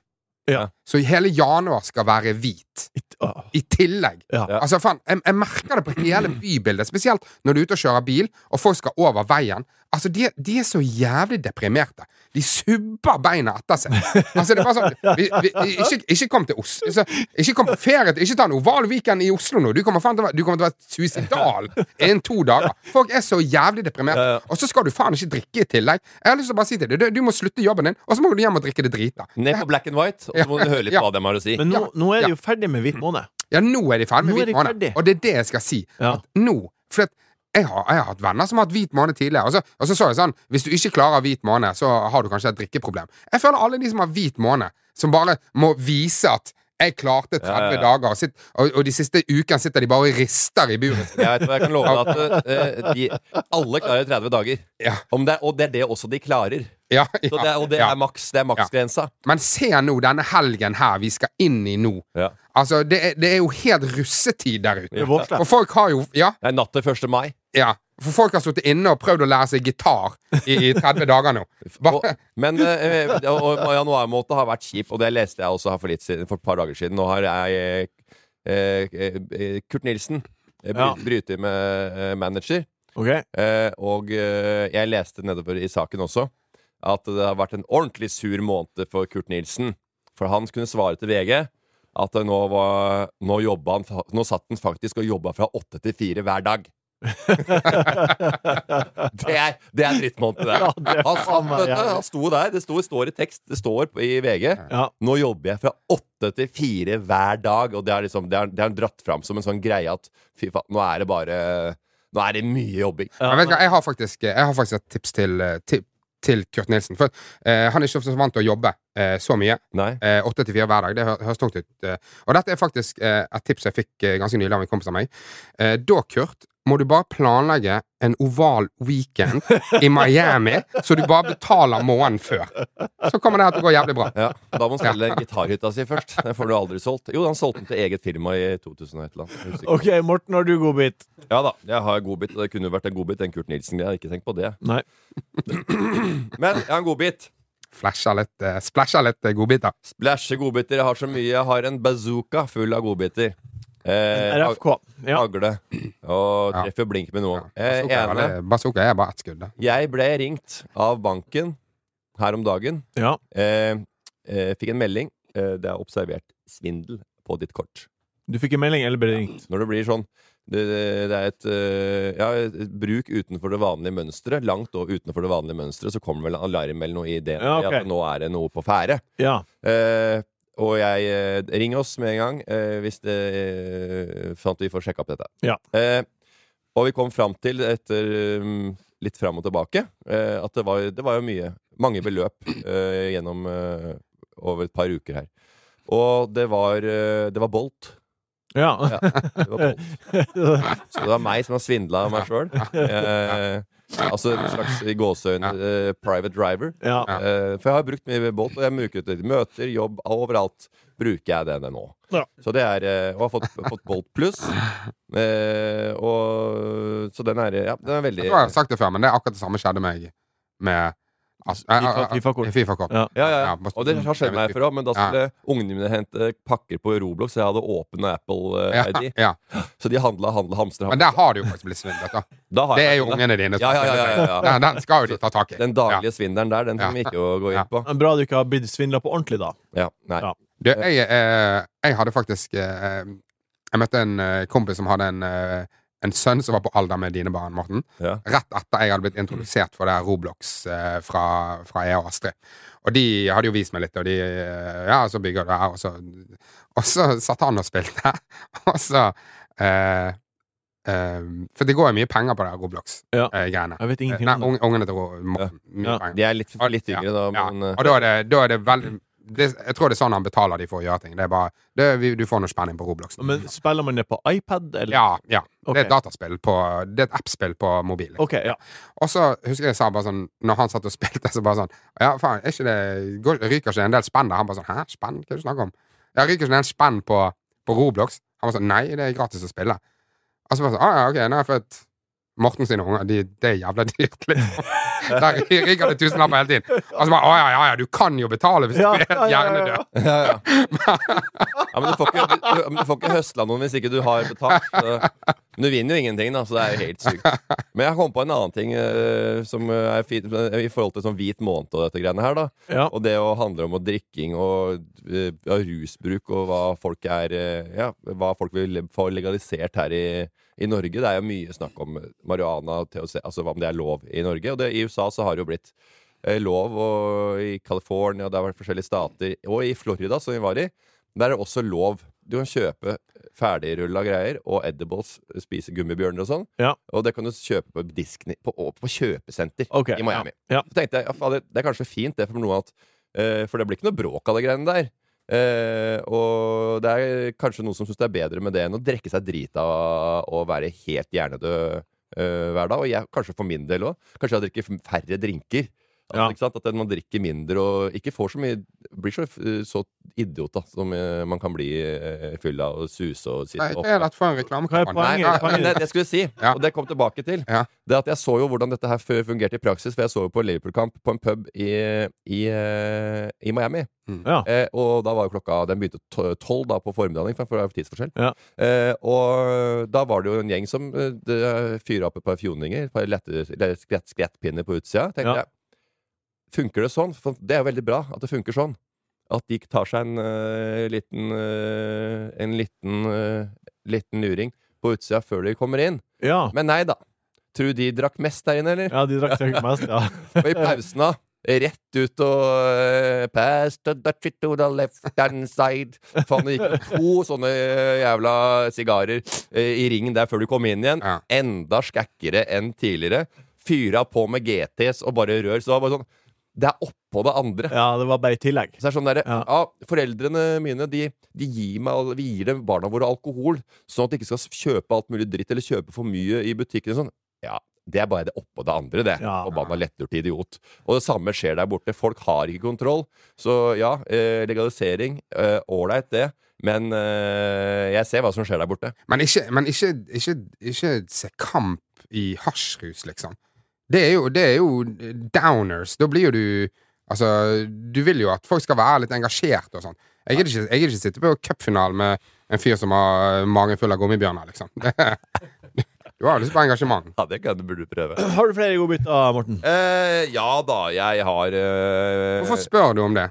Speaker 2: Ja.
Speaker 4: Så hele januar skal være hvit. dritt i tillegg.
Speaker 2: Ja.
Speaker 4: Altså, faen, jeg, jeg merker det på hele bybildet, spesielt når du er ute og kjører bil, og folk skal over veien. Altså, de, de er så jævlig deprimerte. De subber beina etter seg. Altså, det er bare sånn vi, vi, ikke, ikke kom til Oslo. Altså, ikke kom på ferie. til- Ikke ta en oval weekend i Oslo nå. Du kommer, faen til, å være- du kommer til å være suicidal innen to dager. Folk er så jævlig deprimerte.
Speaker 5: Ja, ja.
Speaker 4: Og så skal du faen ikke drikke i tillegg. Jeg har lyst til å bare si til deg, du, du må slutte jobben din, og så må du hjem og drikke det drita.
Speaker 5: Ned på black and white, og så må du høre litt
Speaker 4: Ja.
Speaker 5: hva de har å si.
Speaker 2: Men nå,
Speaker 4: Ja.
Speaker 2: nå er
Speaker 4: Ja.
Speaker 2: de jo ferdig med Hvit måned.
Speaker 4: Ja, nå er de ferdig
Speaker 2: Nå
Speaker 4: med
Speaker 2: er de
Speaker 4: hvit måned.
Speaker 2: ferdig.
Speaker 4: Og det er det jeg skal si.
Speaker 2: Ja.
Speaker 4: At nå For at jeg har, jeg har hatt venner som har hatt hvit måned tidligere. Og så, og så så jeg sånn Hvis du ikke klarer hvit måned, så har du kanskje et drikkeproblem. Jeg føler alle de som har hvit måned, som bare må vise at jeg klarte 30
Speaker 5: Ja, ja, ja.
Speaker 4: dager, og, sitt, og, og de siste ukene sitter de bare og rister i buret.
Speaker 5: <laughs>
Speaker 4: sitt.
Speaker 5: Jeg vet hva jeg kan love deg at eh, de, alle klarer 30 dager.
Speaker 4: Ja,
Speaker 5: Om det er, og det er det også de klarer.
Speaker 4: ja, ja,
Speaker 5: Så det er, og det
Speaker 4: ja.
Speaker 5: er maks. Det er maksgrensa.
Speaker 4: Men se nå denne helgen her vi skal inn i nå.
Speaker 5: Ja.
Speaker 4: Altså, det er, det er jo helt russetid der
Speaker 2: Det
Speaker 4: ute.
Speaker 2: er vårsdag.
Speaker 4: Og folk har jo Ja,
Speaker 5: Det er natt til 1. mai.
Speaker 4: Ja, for folk har sittet inne og prøvd å lære seg gitar i, i 30 dager nå.
Speaker 5: Og,
Speaker 4: Bare,
Speaker 5: men eh, og, og januarmåneden har vært kjip, og det leste jeg også her for, litt siden, for et par dager siden. Nå har jeg eh, eh, eh, Kurt Nilsen eh, bry,
Speaker 2: Ja.
Speaker 5: bryter med eh, manager.
Speaker 2: Ok?
Speaker 5: Eh, og eh, jeg leste nedover i saken også at det har vært en ordentlig sur måned for Kurt Nilsen. For han kunne svare til VG at nå, var, nå, jobba han, fa- nå satt han faktisk og jobba fra åtte til fire hver
Speaker 2: <laughs>
Speaker 5: dag. det, er, det er drittmåned, det.
Speaker 2: Ja, det er
Speaker 5: han,
Speaker 2: faen
Speaker 5: satt,
Speaker 2: meg
Speaker 5: vet du,
Speaker 2: jævlig.
Speaker 5: han sto der. Det sto, står i tekst. Det står på- i VG.
Speaker 2: Ja.
Speaker 5: Nå jobber jeg fra åtte til fire hver dag, og det er liksom, det er, det er dratt fram som en sånn greie at fy faen, nå er det bare Nå er det mye jobbing.
Speaker 2: Ja,
Speaker 4: jeg, vet, ikke, jeg, har faktisk, eh, jeg har faktisk et tips til, eh, til, til Kurt Nilsen. For eh, han er ikke så vant til å jobbe eh, så mye.
Speaker 5: Nei.
Speaker 4: Eh, 8-4 hver dag. Det hø- høres tungt ut. Eh, og dette er faktisk eh, et tips jeg fikk eh, ganske nylig av en kompis av meg. Eh, da, Kurt, må du bare planlegge en oval weekend i Miami, så du bare betaler måneden før. Så kommer det her til å gå jævlig bra.
Speaker 5: Ja, Da må han selge gitarhytta si først. Den får du aldri solgt. Jo, han solgte den til eget firma i 2000 og et eller annet. Jeg husker
Speaker 2: OK,
Speaker 5: ikke.
Speaker 2: Morten, har du godbit?
Speaker 5: Ja da, jeg har godbit. og Det kunne jo vært en godbit, den Kurt Nilsen. Jeg har ikke tenkt på det.
Speaker 2: Nei.
Speaker 5: Men jeg har en godbit.
Speaker 4: Flasher litt, eh, splasher litt eh, godbiter.
Speaker 5: Splæsje godbiter. Jeg har så mye. Jeg har en bazooka full av godbiter. Eh, ag-
Speaker 2: RFK. Ja.
Speaker 5: Hagle. Og
Speaker 4: Ja.
Speaker 5: treffer blink med noen. Eh,
Speaker 4: Bazooka er,
Speaker 5: ene
Speaker 4: bare- bazooka er bare ett skudd. da.
Speaker 5: Jeg ble ringt av banken her om dagen.
Speaker 2: ja.
Speaker 5: Eh, eh, fikk en melding. Eh, det er observert svindel på ditt kort.
Speaker 2: Du fikk en melding, eller ble det ringt?
Speaker 5: Når det blir sånn det, det er et, eh, ja, et bruk utenfor det vanlige mønsteret. Langt over utenfor det vanlige mønsteret, så kommer vel en alarm eller noe i det.
Speaker 2: Ja, ok.
Speaker 5: At nå er det noe på ferde.
Speaker 2: Ja.
Speaker 5: Eh, og jeg eh, Ring oss med en gang eh, hvis det eh, Sånn at vi får sjekka opp dette.
Speaker 2: Ja.
Speaker 5: Eh, og vi kom fram til, etter um, litt fram og tilbake, eh, at det var, det var jo mye. Mange beløp eh, gjennom eh, over et par uker her. Og det var, eh, det var Bolt.
Speaker 2: ja.
Speaker 5: Ja, det var Bolt. Så det var meg som har svindla meg sjøl. Eh, altså en slags i gåseøyne eh, private driver.
Speaker 2: ja.
Speaker 5: Eh, for jeg har brukt mye båt, og jeg bruker det til møter, jobb, overalt bruker jeg denne nå.
Speaker 2: Ja.
Speaker 5: Så det er eh, Og har fått, fått Bolt pluss. Eh, og Så den er Ja, den er veldig
Speaker 4: Jeg tror jeg har sagt det altså- før, men det er akkurat det samme skjedde meg med altså, jeg- jeg- jeg-
Speaker 2: FIFA-kort.
Speaker 4: FIFA-kort.
Speaker 2: Ja.
Speaker 5: ja, ja,
Speaker 4: Ja,
Speaker 5: ja.
Speaker 4: bare-
Speaker 5: Og det har skjedd meg før òg, men da skulle ungene mine hente pakker på Roblox, så jeg hadde åpen
Speaker 4: Ja,
Speaker 5: Apple-ID.
Speaker 4: ja.
Speaker 5: Så de handla, handla, hamstra.
Speaker 4: Men der har du jo faktisk blitt svindlet, da.
Speaker 5: Da har
Speaker 4: Det er
Speaker 5: jeg-
Speaker 4: jo ungene dine. som-
Speaker 5: Ja, ja, ja, ja, ja.
Speaker 4: Den, den skal jo de ta tak i.
Speaker 5: Den daglige svindelen der, den trenger vi
Speaker 4: Ja.
Speaker 5: ikke å gå
Speaker 4: Ja.
Speaker 5: inn på.
Speaker 2: Men Bra du ikke har blitt svindla på ordentlig, da.
Speaker 5: Ja, nei.
Speaker 2: Ja.
Speaker 4: Ja. Du, jeg, eh, jeg hadde faktisk eh, Jeg møtte en eh, kompis som hadde en, eh, en sønn som var på alder med dine barn, Morten.
Speaker 5: Ja.
Speaker 4: Rett etter jeg hadde blitt introdusert for det her Roblox eh, fra, fra jeg og Astrid. Og de hadde jo vist meg litt, og de eh, Ja, så bygger du her, og så Og så satt han og spilte, <laughs> og så eh, eh, For det går jo mye penger på det her
Speaker 2: Ja.
Speaker 4: Roblox-greiene.
Speaker 2: Jeg vet ingenting
Speaker 4: Nei,
Speaker 2: om det.
Speaker 4: ung- ungene til Ro- Morten. Mye
Speaker 2: Ja.
Speaker 4: penger.
Speaker 5: De er litt, litt
Speaker 4: Ja,
Speaker 5: yngre, da. <laughs>
Speaker 4: Ja,
Speaker 5: Men, eh,
Speaker 4: og da er det, da er det veldig det, Jeg tror det er sånn han betaler de for å gjøre ting. Det er bare, det, er- vi, Du får noe spenning på Roblox.
Speaker 2: Men spiller man det på iPad, eller?
Speaker 4: Ja, ja. Det er et
Speaker 2: Ok.
Speaker 4: dataspill på Det er et appspill på mobil.
Speaker 2: OK, ja.
Speaker 4: Og så husker jeg jeg sa bare sånn Når han satt og spilte, så bare sånn Ja, faen, er ikke det går, Ryker ikke en del spenn der? Han bare sånn Hæ, spenn? Hva er det du snakker om? Ja, ryker ikke en del spenn på, på Roblox? Han var sånn Nei, det er gratis å spille. Og så bare sånn Å ja, ok, nå har jeg fått Morten sine unger, de, det er jævla dyrt, liksom. <laughs> Der ryker det tusenlapper ah, hele tiden. Og så bare Å ja, ja, ja, du kan jo betale hvis du
Speaker 2: Ja,
Speaker 4: er
Speaker 2: ja, ja, ja, ja.
Speaker 4: hjernedød.
Speaker 5: ja, ja. Ja, men du får ikke, du, du, men du får ikke høsla noen hvis ikke du har betalt. Så. Men du vinner jo ingenting, da, så det er jo helt sykt. Men jeg kom på en annen ting eh, som er fint eh, i forhold til sånn hvit måned og dette greiene her, da.
Speaker 2: Ja.
Speaker 5: Og det å handle om å drikking og eh, ja, rusbruk og hva folk er eh, Ja, hva folk vil få legalisert her i, i Norge. Det er jo mye snakk om marihuana, THC, altså hva om det er lov i Norge. Og det, i USA så har det jo blitt eh, lov, og i California, det har vært forskjellige stater, og i Florida, som vi var i, der er det også lov. Du kan kjøpe ferdigrulla greier og edibles, spise gummibjørner og sånn.
Speaker 2: Ja.
Speaker 5: Og det kan du kjøpe på Disney, på, og på kjøpesenter
Speaker 2: Ok,
Speaker 5: i Miami.
Speaker 2: ja. Ja.
Speaker 5: Så tenkte jeg, ja, fader, det er kanskje fint det for noe at eh, For det blir ikke noe bråk av de greiene der. Eh, og det er kanskje noen som syns det er bedre med det enn å drikke seg drita og være helt hjernedød eh, hver dag. Og jeg, kanskje for min del òg. Kanskje jeg drikker færre drinker. Altså,
Speaker 2: Ja.
Speaker 5: ikke sant? At man drikker mindre og ikke får så mye Blir så, eh, så idiot da som eh, man kan bli eh, fyll av og suse og sitte
Speaker 4: Nei,
Speaker 5: opp.
Speaker 4: det er rett for en
Speaker 2: Hva er
Speaker 4: reklamekampanje.
Speaker 5: Nei,
Speaker 2: poenget?
Speaker 5: ja,
Speaker 2: poenget?
Speaker 5: men det, det skulle jeg si,
Speaker 4: Ja.
Speaker 5: og det kom tilbake til.
Speaker 4: Ja.
Speaker 5: Det at Jeg så jo hvordan dette her før fungerte i praksis, for jeg så jo på Liverpool-kamp på en pub i, i, eh, i Miami.
Speaker 4: Mm.
Speaker 2: Ja.
Speaker 5: Eh, og da var jo klokka Den begynte to- tolv da på formiddagen, for det er jo tidsforskjell.
Speaker 2: Ja.
Speaker 5: Eh, og da var det jo en gjeng som uh, fyra opp et par fjoninger, et par lette, eller skrett, skrettpinner på utsida. Tenkte
Speaker 2: Ja.
Speaker 5: jeg, Funker det sånn? For det er jo veldig bra at det funker sånn. At de tar seg en eh, liten eh, En liten eh, Liten luring på utsida før de kommer inn.
Speaker 2: ja.
Speaker 5: Men nei da. Tror du de drakk mest der inne, eller?
Speaker 2: Ja, de drakk sikkert mest, ja.
Speaker 5: Og i pausen da Rett ut og eh, Pass the Dutchie to the left hand side Faen, det gikk to sånne eh, jævla sigarer eh, I ringen der før du kom inn igjen
Speaker 4: Ja.
Speaker 5: Enda skækkere enn tidligere Fyra på med GTs og bare rør Så det var bare sånn Det er oppå det andre
Speaker 2: Ja, det var bare i tillegg.
Speaker 5: så det er sånn der, ja.
Speaker 2: Ja.
Speaker 5: Foreldrene mine de, de gir meg, al- vi gir dem barna våre alkohol, sånn at de ikke skal s- kjøpe alt mulig dritt eller kjøpe for mye i butikken. og Sånn. Ja, det er bare det oppå det andre, det.
Speaker 2: Ja.
Speaker 5: Forbanna lettlurt idiot. Og det samme skjer der borte. Folk har ikke kontroll. Så ja, eh, legalisering, eh, ålreit det, men eh, jeg ser hva som skjer der borte.
Speaker 4: Men, ikke, men ikke, ikke, ikke se kamp i hasjrus, liksom. Det er, jo, det er jo downers. Da blir jo du Altså, du vil jo at folk skal være litt engasjert og sånn. Jeg gidder ikke, jeg gidder ikke sitte på cupfinalen med en fyr som har magen full av gummibjørner, liksom. <laughs> Det, du har jo lyst på engasjement.
Speaker 5: Ja, det kan du burde prøve.
Speaker 2: Har du flere godbiter, Morten?
Speaker 5: Eh, ja da, jeg har eh,
Speaker 4: Hvorfor spør du om det?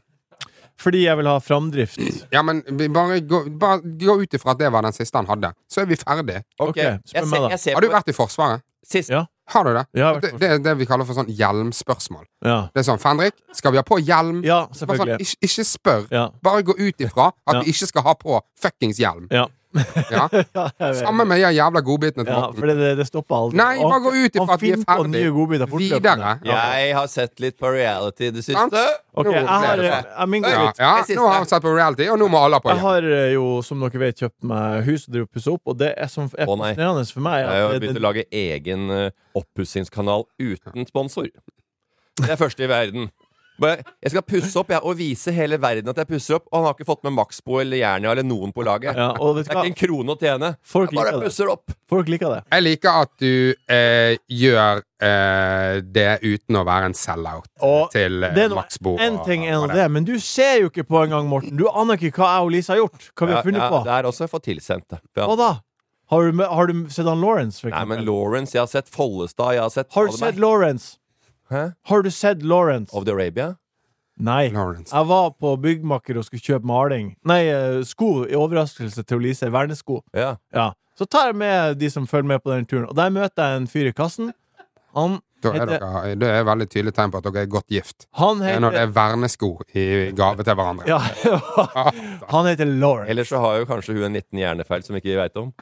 Speaker 2: Fordi jeg vil ha framdrift.
Speaker 4: Ja, men vi bare gå, bare gå ut ifra at det var den siste han hadde. Så er vi ferdig.
Speaker 5: Ok,
Speaker 2: Ok, spør
Speaker 5: jeg
Speaker 2: meg
Speaker 5: ser,
Speaker 2: da.
Speaker 5: jeg ser
Speaker 4: Har du
Speaker 5: på
Speaker 4: vært i Forsvaret?
Speaker 5: sist.
Speaker 2: Ja.
Speaker 4: Har du det?
Speaker 2: Jeg har vært
Speaker 4: Det,
Speaker 2: i
Speaker 4: det er det vi kaller for sånn hjelmspørsmål.
Speaker 2: Ja,
Speaker 4: Det er sånn, Fendrik, skal vi ha på hjelm?
Speaker 2: ja
Speaker 4: Bare sånn,
Speaker 2: selvfølgelig.
Speaker 4: ikke, ikke spør.
Speaker 2: Ja.
Speaker 4: Bare gå ut ifra at
Speaker 2: Ja.
Speaker 4: vi ikke skal ha på fuckings hjelm.
Speaker 2: Ja.
Speaker 4: Ja.
Speaker 2: <laughs> Ja, jeg vet.
Speaker 4: Sammen med de jævla godbitene til
Speaker 2: ja,
Speaker 4: Morten.
Speaker 2: for det, det, det stopper aldri.
Speaker 4: Nei,
Speaker 2: Og
Speaker 4: bare gå ut ifra
Speaker 2: han
Speaker 4: at vi er
Speaker 2: finner på
Speaker 4: ferdig.
Speaker 2: nye godbiter fortløpende.
Speaker 4: Videre.
Speaker 2: Ja.
Speaker 5: Jeg har sett litt på reality i det
Speaker 4: Sant?
Speaker 5: siste.
Speaker 2: Ok, jeg har, eh, jeg, min
Speaker 4: sånn. Ja,
Speaker 2: godbit.
Speaker 4: ja.
Speaker 5: Jeg synes
Speaker 4: Nå har
Speaker 5: det.
Speaker 4: vi sett på reality, og nå må alle ha på
Speaker 2: Jeg
Speaker 4: hjelm.
Speaker 2: har eh, jo, som dere vet, kjøpt meg hus og driver og pusser opp, og det er som er
Speaker 5: Å, nei.
Speaker 2: fascinerende for meg
Speaker 5: Jeg har
Speaker 2: at det,
Speaker 5: begynt Eh, å lage egen eh, oppussingskanal uten sponsor. Det er første i verden. Bare- Jeg skal pusse opp jeg, og vise hele verden at jeg pusser opp. Og han har ikke fått med Maxbo eller Jernia eller noen på laget.
Speaker 2: ja, og vet
Speaker 4: <laughs>
Speaker 2: du
Speaker 5: Det er
Speaker 2: hva?
Speaker 5: ikke en krone å tjene.
Speaker 2: Folk
Speaker 5: Jeg bare
Speaker 2: liker det.
Speaker 5: pusser opp.
Speaker 2: Folk liker det.
Speaker 4: Jeg liker at du eh, gjør eh, det uten å være en sell-out
Speaker 2: Og
Speaker 4: til eh,
Speaker 2: Det er nå
Speaker 4: Max Bo.
Speaker 2: én
Speaker 4: og-
Speaker 2: ting er
Speaker 4: og
Speaker 2: nå det, men du ser jo ikke på engang, Morten. Du aner ikke hva jeg og Lise har gjort. Hva vi
Speaker 5: Ja,
Speaker 2: har funnet
Speaker 5: ja,
Speaker 2: på.
Speaker 5: det er også jeg får tilsendt det. Ja.
Speaker 2: Hva da? Har du, med- har du sett han Lawrence, for
Speaker 5: Nei, men
Speaker 2: eksempel?
Speaker 5: Lawrence, jeg har sett Follestad, jeg har sett
Speaker 2: Har du
Speaker 5: Fader meg.
Speaker 2: sett Lawrence?
Speaker 5: Hæ?
Speaker 2: Har du sett Lawrence?
Speaker 5: Of the Arabia?
Speaker 2: Nei.
Speaker 4: Lawrence.
Speaker 2: Jeg var på byggmaker og skulle kjøpe maling. Nei, eh, sko i overraskelse til Lise. Vernesko.
Speaker 5: Ja.
Speaker 2: Ja. Så tar jeg med de som følger med på den turen, og der møter jeg en fyr i kassen. Han
Speaker 4: Da er
Speaker 2: heter,
Speaker 4: dere, det er veldig tydelig tegn på at dere er godt gift.
Speaker 2: han
Speaker 4: Det er når det
Speaker 2: heter
Speaker 4: er vernesko i gave til
Speaker 2: <laughs>
Speaker 4: hverandre.
Speaker 2: ja, Han heter Lawrence.
Speaker 5: Eller så har jo kanskje hun en liten hjernefeil som ikke vi veit om.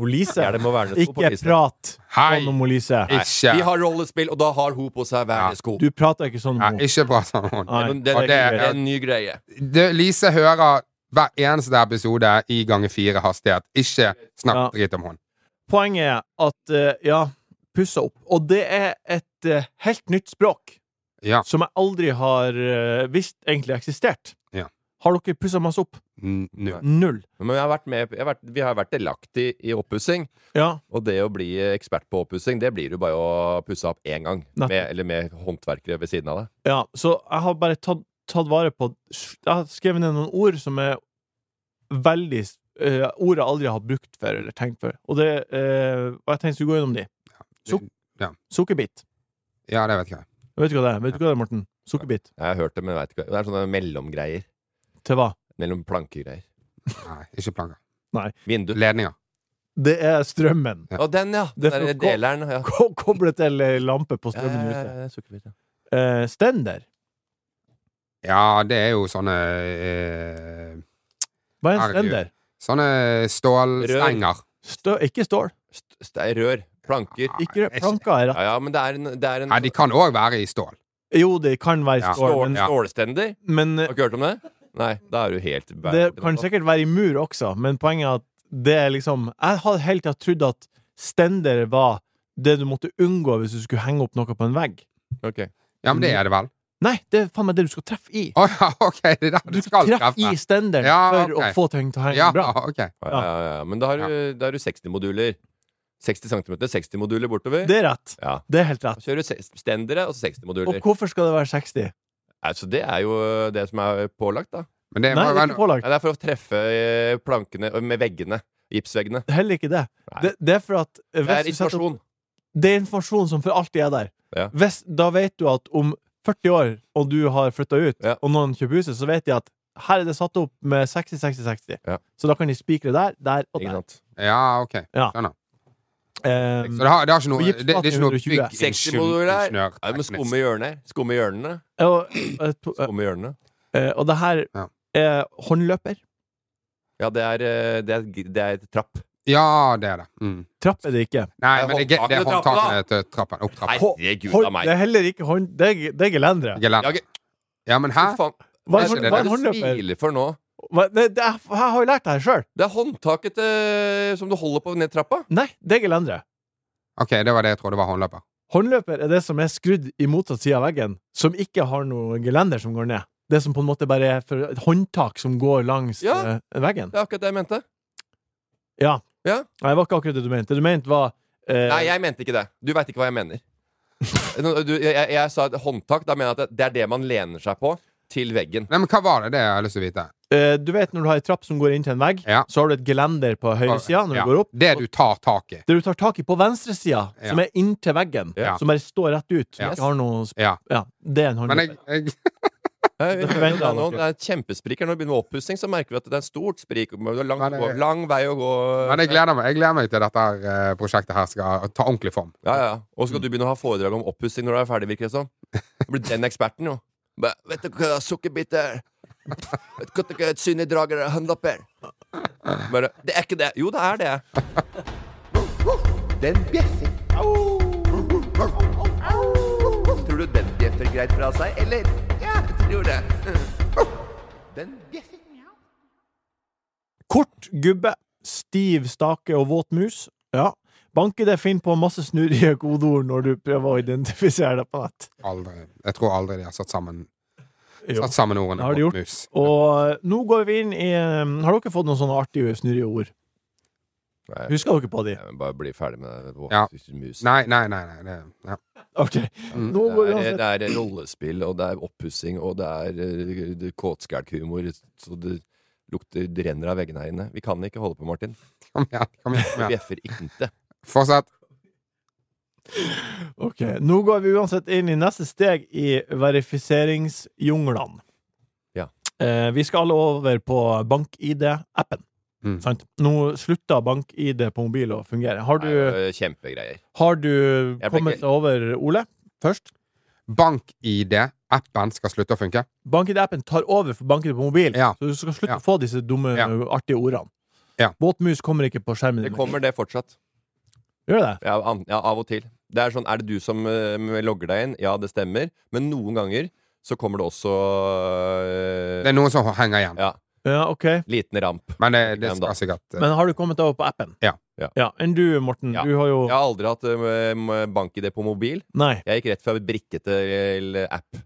Speaker 2: Og Lise.
Speaker 5: Ja, det må være noe på
Speaker 2: Ikke
Speaker 5: Lise.
Speaker 2: prat
Speaker 4: Hei.
Speaker 2: sånn om Lise.
Speaker 5: Nei,
Speaker 4: Ikke,
Speaker 5: Vi har rollespill, og da har hun på seg vernesko.
Speaker 2: Du prater ikke sånn om
Speaker 4: Nei,
Speaker 2: henne.
Speaker 4: ikke bra sammen.
Speaker 2: Nei.
Speaker 5: Men Det,
Speaker 4: Og
Speaker 5: det, det
Speaker 4: det-
Speaker 5: er en ny greie.
Speaker 4: det, Lise hører hver eneste episode i ganger fire hastighet. Ikke
Speaker 2: Ja.
Speaker 4: snakk dritt om henne.
Speaker 2: Poenget er at eh, ja, pusse opp. Og det er et eh, helt nytt språk
Speaker 4: Ja.
Speaker 2: som jeg aldri har eh, visst egentlig eksistert.
Speaker 4: Ja.
Speaker 2: Har dere pussa masse opp?
Speaker 4: N- Null.
Speaker 2: Null.
Speaker 5: Men jeg har vært med, jeg har vært, vi har vært delaktig i oppussing,
Speaker 2: Ja.
Speaker 5: og det å bli ekspert på oppussing, det blir du bare å pusse opp én gang.
Speaker 2: Nettopp.
Speaker 5: Med, eller med håndverkere ved siden av deg.
Speaker 2: ja. Så jeg har bare tatt, tatt vare på Jeg har skrevet ned noen ord som er veldig eh, ord jeg aldri har brukt før eller tenkt før. Og, det, eh, og jeg tenkte vi skulle gå gjennom de. Suk
Speaker 4: ja.
Speaker 2: Sukkerbit.
Speaker 4: Ja, det vet jeg.
Speaker 2: Vet du hva det er, Vet du hva det er, Morten? Sukkerbit.
Speaker 5: Jeg har hørt det, men jeg vet ikke. hva- Det er sånne mellomgreier.
Speaker 2: Til hva?
Speaker 5: Mellom plankegreier.
Speaker 4: Nei, ikke planker.
Speaker 5: Vindu.
Speaker 4: Ledninger.
Speaker 2: Det er strømmen. <laughs>
Speaker 5: Å, den, ja!
Speaker 2: Det
Speaker 5: Den
Speaker 2: er
Speaker 5: der
Speaker 2: for-
Speaker 5: deleren. Ja.
Speaker 2: Ko- Koblet til eh, lampe på
Speaker 5: Ja, ja,
Speaker 2: strømmen
Speaker 5: ja,
Speaker 2: ute.
Speaker 5: ja, sukkerbit, ja.
Speaker 2: Eh, stender.
Speaker 4: Ja, det er jo sånne eh,
Speaker 2: Hva er en
Speaker 4: Herregud.
Speaker 2: stender?
Speaker 4: Sånne stålstenger.
Speaker 2: Stø ikke stål.
Speaker 5: St- st- Rør. Planker.
Speaker 2: Ikke
Speaker 4: Nei,
Speaker 2: rød. Planker er
Speaker 5: Ja, ja, men det er en, det er en
Speaker 4: Nei, de kan òg være i stål.
Speaker 2: Jo, det kan være
Speaker 4: Ja.
Speaker 2: stål,
Speaker 5: stål,
Speaker 2: men,
Speaker 4: ja.
Speaker 5: stålstender.
Speaker 2: men eh,
Speaker 5: Har du ikke hørt om det? Nei, da er du helt
Speaker 2: det kan sikkert være i mur også. Men poenget er at det er liksom Jeg hadde hele tida trodd at stender var det du måtte unngå hvis du skulle henge opp noe på en vegg.
Speaker 5: Ok.
Speaker 4: Ja,
Speaker 2: Mm.
Speaker 4: men det er det vel. <laughs>
Speaker 2: Nei, det er faen meg det du skal treffe i.
Speaker 4: Å ja, ok, det er der
Speaker 2: Du
Speaker 4: du
Speaker 2: skal
Speaker 4: skal
Speaker 2: treffe i
Speaker 4: treffe.
Speaker 2: stenderen
Speaker 4: Ja,
Speaker 2: for
Speaker 4: ok.
Speaker 2: å få ting til å henge
Speaker 4: Ja,
Speaker 2: bra.
Speaker 4: ok.
Speaker 5: Ja, ja, ja, ja. Men da har du, da har du 60 moduler. 60 cm, 60 moduler bortover.
Speaker 2: Det er rett.
Speaker 5: Ja.
Speaker 2: Det er helt
Speaker 5: Da
Speaker 2: rett.
Speaker 5: kjører du se- stendere og så 60
Speaker 2: Og
Speaker 5: moduler.
Speaker 2: hvorfor skal det være 60?
Speaker 5: Altså, det er jo det som er pålagt, da.
Speaker 4: Men det
Speaker 2: Nei,
Speaker 4: må
Speaker 2: det
Speaker 4: jo
Speaker 2: er
Speaker 4: være
Speaker 2: ikke
Speaker 4: noe
Speaker 5: Nei,
Speaker 2: pålagt.
Speaker 5: det er for å treffe eh, plankene med veggene. Gipsveggene.
Speaker 2: Heller ikke det.
Speaker 5: Nei.
Speaker 2: Det, det er for at eh, hvis
Speaker 5: Det er
Speaker 2: du setter opp-
Speaker 5: informasjon.
Speaker 2: det er informasjon som for alltid er der.
Speaker 5: Ja.
Speaker 2: Hvis, da vet du at om 40 år, og du har flytta ut,
Speaker 5: Ja.
Speaker 2: og noen kjøper huset, så vet de at her er det satt opp med 60-60-60.
Speaker 5: Ja.
Speaker 2: Så da kan de spikre der, der og
Speaker 5: Ikke
Speaker 2: der.
Speaker 5: sant?
Speaker 4: Ja, ok.
Speaker 2: Ja.
Speaker 4: Skjønner.
Speaker 2: Ehm,
Speaker 4: Så det har, det har
Speaker 2: Og
Speaker 4: ikke noe
Speaker 2: gipsplaten
Speaker 4: Det, det er ikke noe
Speaker 2: 120.
Speaker 5: 60 moduler der. Ja, du må
Speaker 4: byggingeniør
Speaker 5: skumme hjørner. Skumme hjørnene.
Speaker 2: og, eh, to- eh,
Speaker 5: Skumme hjørnene.
Speaker 2: eh, og det her
Speaker 4: Ja.
Speaker 2: er håndløper.
Speaker 5: Ja, det er, eh, det er, det er et trapp.
Speaker 4: Ja, det er det. Mm.
Speaker 2: Trapp er det ikke.
Speaker 4: Nei,
Speaker 5: Det er
Speaker 4: men det, er- det er
Speaker 5: håndtakene til trappa,
Speaker 4: håndtakene til trappen. Opp trappen.
Speaker 5: Herregud
Speaker 2: Hånd-
Speaker 5: a meg.
Speaker 2: det er heller ikke hånd... Det er, det er gelendere.
Speaker 4: Gelend.
Speaker 5: Ja, ok.
Speaker 4: Ja, men hæ?
Speaker 5: Fy faen.
Speaker 2: Hva
Speaker 4: det
Speaker 2: er
Speaker 4: er
Speaker 2: hånd-
Speaker 4: ikke det.
Speaker 2: hva er
Speaker 5: Hva er det du
Speaker 2: håndløper?
Speaker 5: smiler for nå?
Speaker 2: Hva, det, det er, jeg har jo lært det her sjøl.
Speaker 5: Det er håndtaket eh, som du holder på ned trappa.
Speaker 2: Nei, det er gelendere.
Speaker 4: Ok, det var det jeg trodde var håndløper.
Speaker 2: Håndløper er det som er skrudd i motsatt side av veggen, som ikke har noe gelender som går ned. Det som på en måte bare er for et håndtak som går langs
Speaker 5: Ja.
Speaker 2: eh, veggen.
Speaker 5: Det er akkurat det jeg mente.
Speaker 2: Ja.
Speaker 5: Ja.
Speaker 2: Nei, det var ikke akkurat det du mente. Det du mente var eh,
Speaker 5: Nei, jeg mente ikke det. Du veit ikke hva jeg mener. <laughs> Nå, Du, jeg, jeg, jeg sa et håndtak. Da mener jeg at det- det er det man lener seg på til veggen.
Speaker 4: Nei, men hva var det? Det har jeg lyst til å vite.
Speaker 2: eh, Du vet når du har ei trapp som går inn til en vegg,
Speaker 4: Ja.
Speaker 2: så har du et gelender på høyre sida når
Speaker 4: Ja.
Speaker 2: du går opp.
Speaker 4: Det du tar tak i.
Speaker 2: Det du tar tak i på venstre sida,
Speaker 4: Ja.
Speaker 2: som er inntil veggen,
Speaker 4: Ja.
Speaker 2: som bare står rett ut. Som
Speaker 5: Ja.
Speaker 2: ikke har noe sp-
Speaker 4: Ja.
Speaker 2: ja, det er en
Speaker 4: Men
Speaker 2: håndløper.
Speaker 4: jeg, jeg
Speaker 5: Jeg vet
Speaker 2: Det
Speaker 5: ikke
Speaker 2: forventer
Speaker 5: om Det er,
Speaker 2: jeg nok.
Speaker 5: noe, det er et kjempesprik her. Når vi begynner med oppussing, så merker vi at det er et stort sprik. Du har
Speaker 4: Nei,
Speaker 5: lang,
Speaker 4: det-
Speaker 5: lang vei å gå.
Speaker 4: Men jeg gleder meg, jeg gleder meg til dette her, eh, prosjektet her skal ta ordentlig form.
Speaker 5: Ja, ja. Og skal du begynne å ha foredrag om oppussing når du er ferdig, virker det som? Du blir den eksperten, jo. Bare, Vet du hva sukkerbit er? Vet du hva et synlig drager er? Håndlapper? Bare Det er ikke det. Jo, det er det.
Speaker 3: Den bjeffer. Tror du den bjeffer greit fra seg, eller? Ja, jeg tror det.
Speaker 4: <laughs>
Speaker 3: Den bjeffer.
Speaker 2: Kort gubbe, stiv stake og våt mus. Ja. Banke det finn på masse snurrige godord når du prøver å identifisere deg på nett.
Speaker 4: Aldri. Jeg tror aldri de har satt sammen,
Speaker 2: Jo.
Speaker 4: satt sammen ordene.
Speaker 2: Det har de
Speaker 4: mot
Speaker 2: gjort.
Speaker 4: mus.
Speaker 2: Og nå går vi inn i um, Har dere fått noen sånne artige snurrige ord?
Speaker 5: Nei.
Speaker 2: Husker dere på de?
Speaker 5: Jeg må bare bli ferdig med det.
Speaker 4: Ja.
Speaker 5: Mus.
Speaker 4: Nei, nei, nei. nei, det, ja. Mm.
Speaker 2: Ok. Nå går vi
Speaker 5: Det er,
Speaker 2: uansett.
Speaker 5: det er rollespill, og det er oppussing, og det er, er kåtskælkhumor. Så det lukter Det renner av veggene her inne. Vi kan ikke holde på, Martin.
Speaker 4: Kom igjen. kom igjen,
Speaker 5: Vi
Speaker 4: kom igjen.
Speaker 5: bjeffer ikke.
Speaker 4: Fortsett.
Speaker 2: Ok, Nå går vi uansett inn i neste steg i verifiseringsjunglene.
Speaker 5: Ja.
Speaker 2: Eh, vi skal alle over på BankID-appen.
Speaker 4: Mm.
Speaker 2: Sant? Nå slutter BankID på mobil å fungere. Har du,
Speaker 5: Nei, Kjempegreier.
Speaker 2: har du
Speaker 5: Jeg ble
Speaker 2: kommet
Speaker 5: ikke-
Speaker 2: deg over, Ole? Først?
Speaker 4: BankID-appen skal slutte å funke.
Speaker 2: BankID-appen tar over for BankID på mobil,
Speaker 4: Ja.
Speaker 2: så du skal slutte
Speaker 4: Ja.
Speaker 2: å få disse dumme,
Speaker 4: Ja.
Speaker 2: artige ordene.
Speaker 4: Ja.
Speaker 2: Båtmus kommer ikke på skjermen.
Speaker 5: Det
Speaker 2: din.
Speaker 5: kommer, det, fortsatt.
Speaker 2: Gjør det?
Speaker 5: Ja, an, ja, av og til. Det er sånn, er det du som eh, logger deg inn? Ja, det stemmer. Men noen ganger så kommer det også
Speaker 4: Det
Speaker 5: eh,
Speaker 4: er noen som henger igjen.
Speaker 5: ja,
Speaker 2: Ja, ok.
Speaker 5: liten ramp.
Speaker 4: Men det, det skal sikkert eh,
Speaker 2: Men har du kommet over på appen?
Speaker 4: Ja.
Speaker 5: Ja.
Speaker 2: Enn du, Morten?
Speaker 5: Ja.
Speaker 2: Du har jo
Speaker 5: Jeg har aldri hatt eh, bank-ID på mobil.
Speaker 2: Nei.
Speaker 5: Jeg gikk rett fra brikke til app.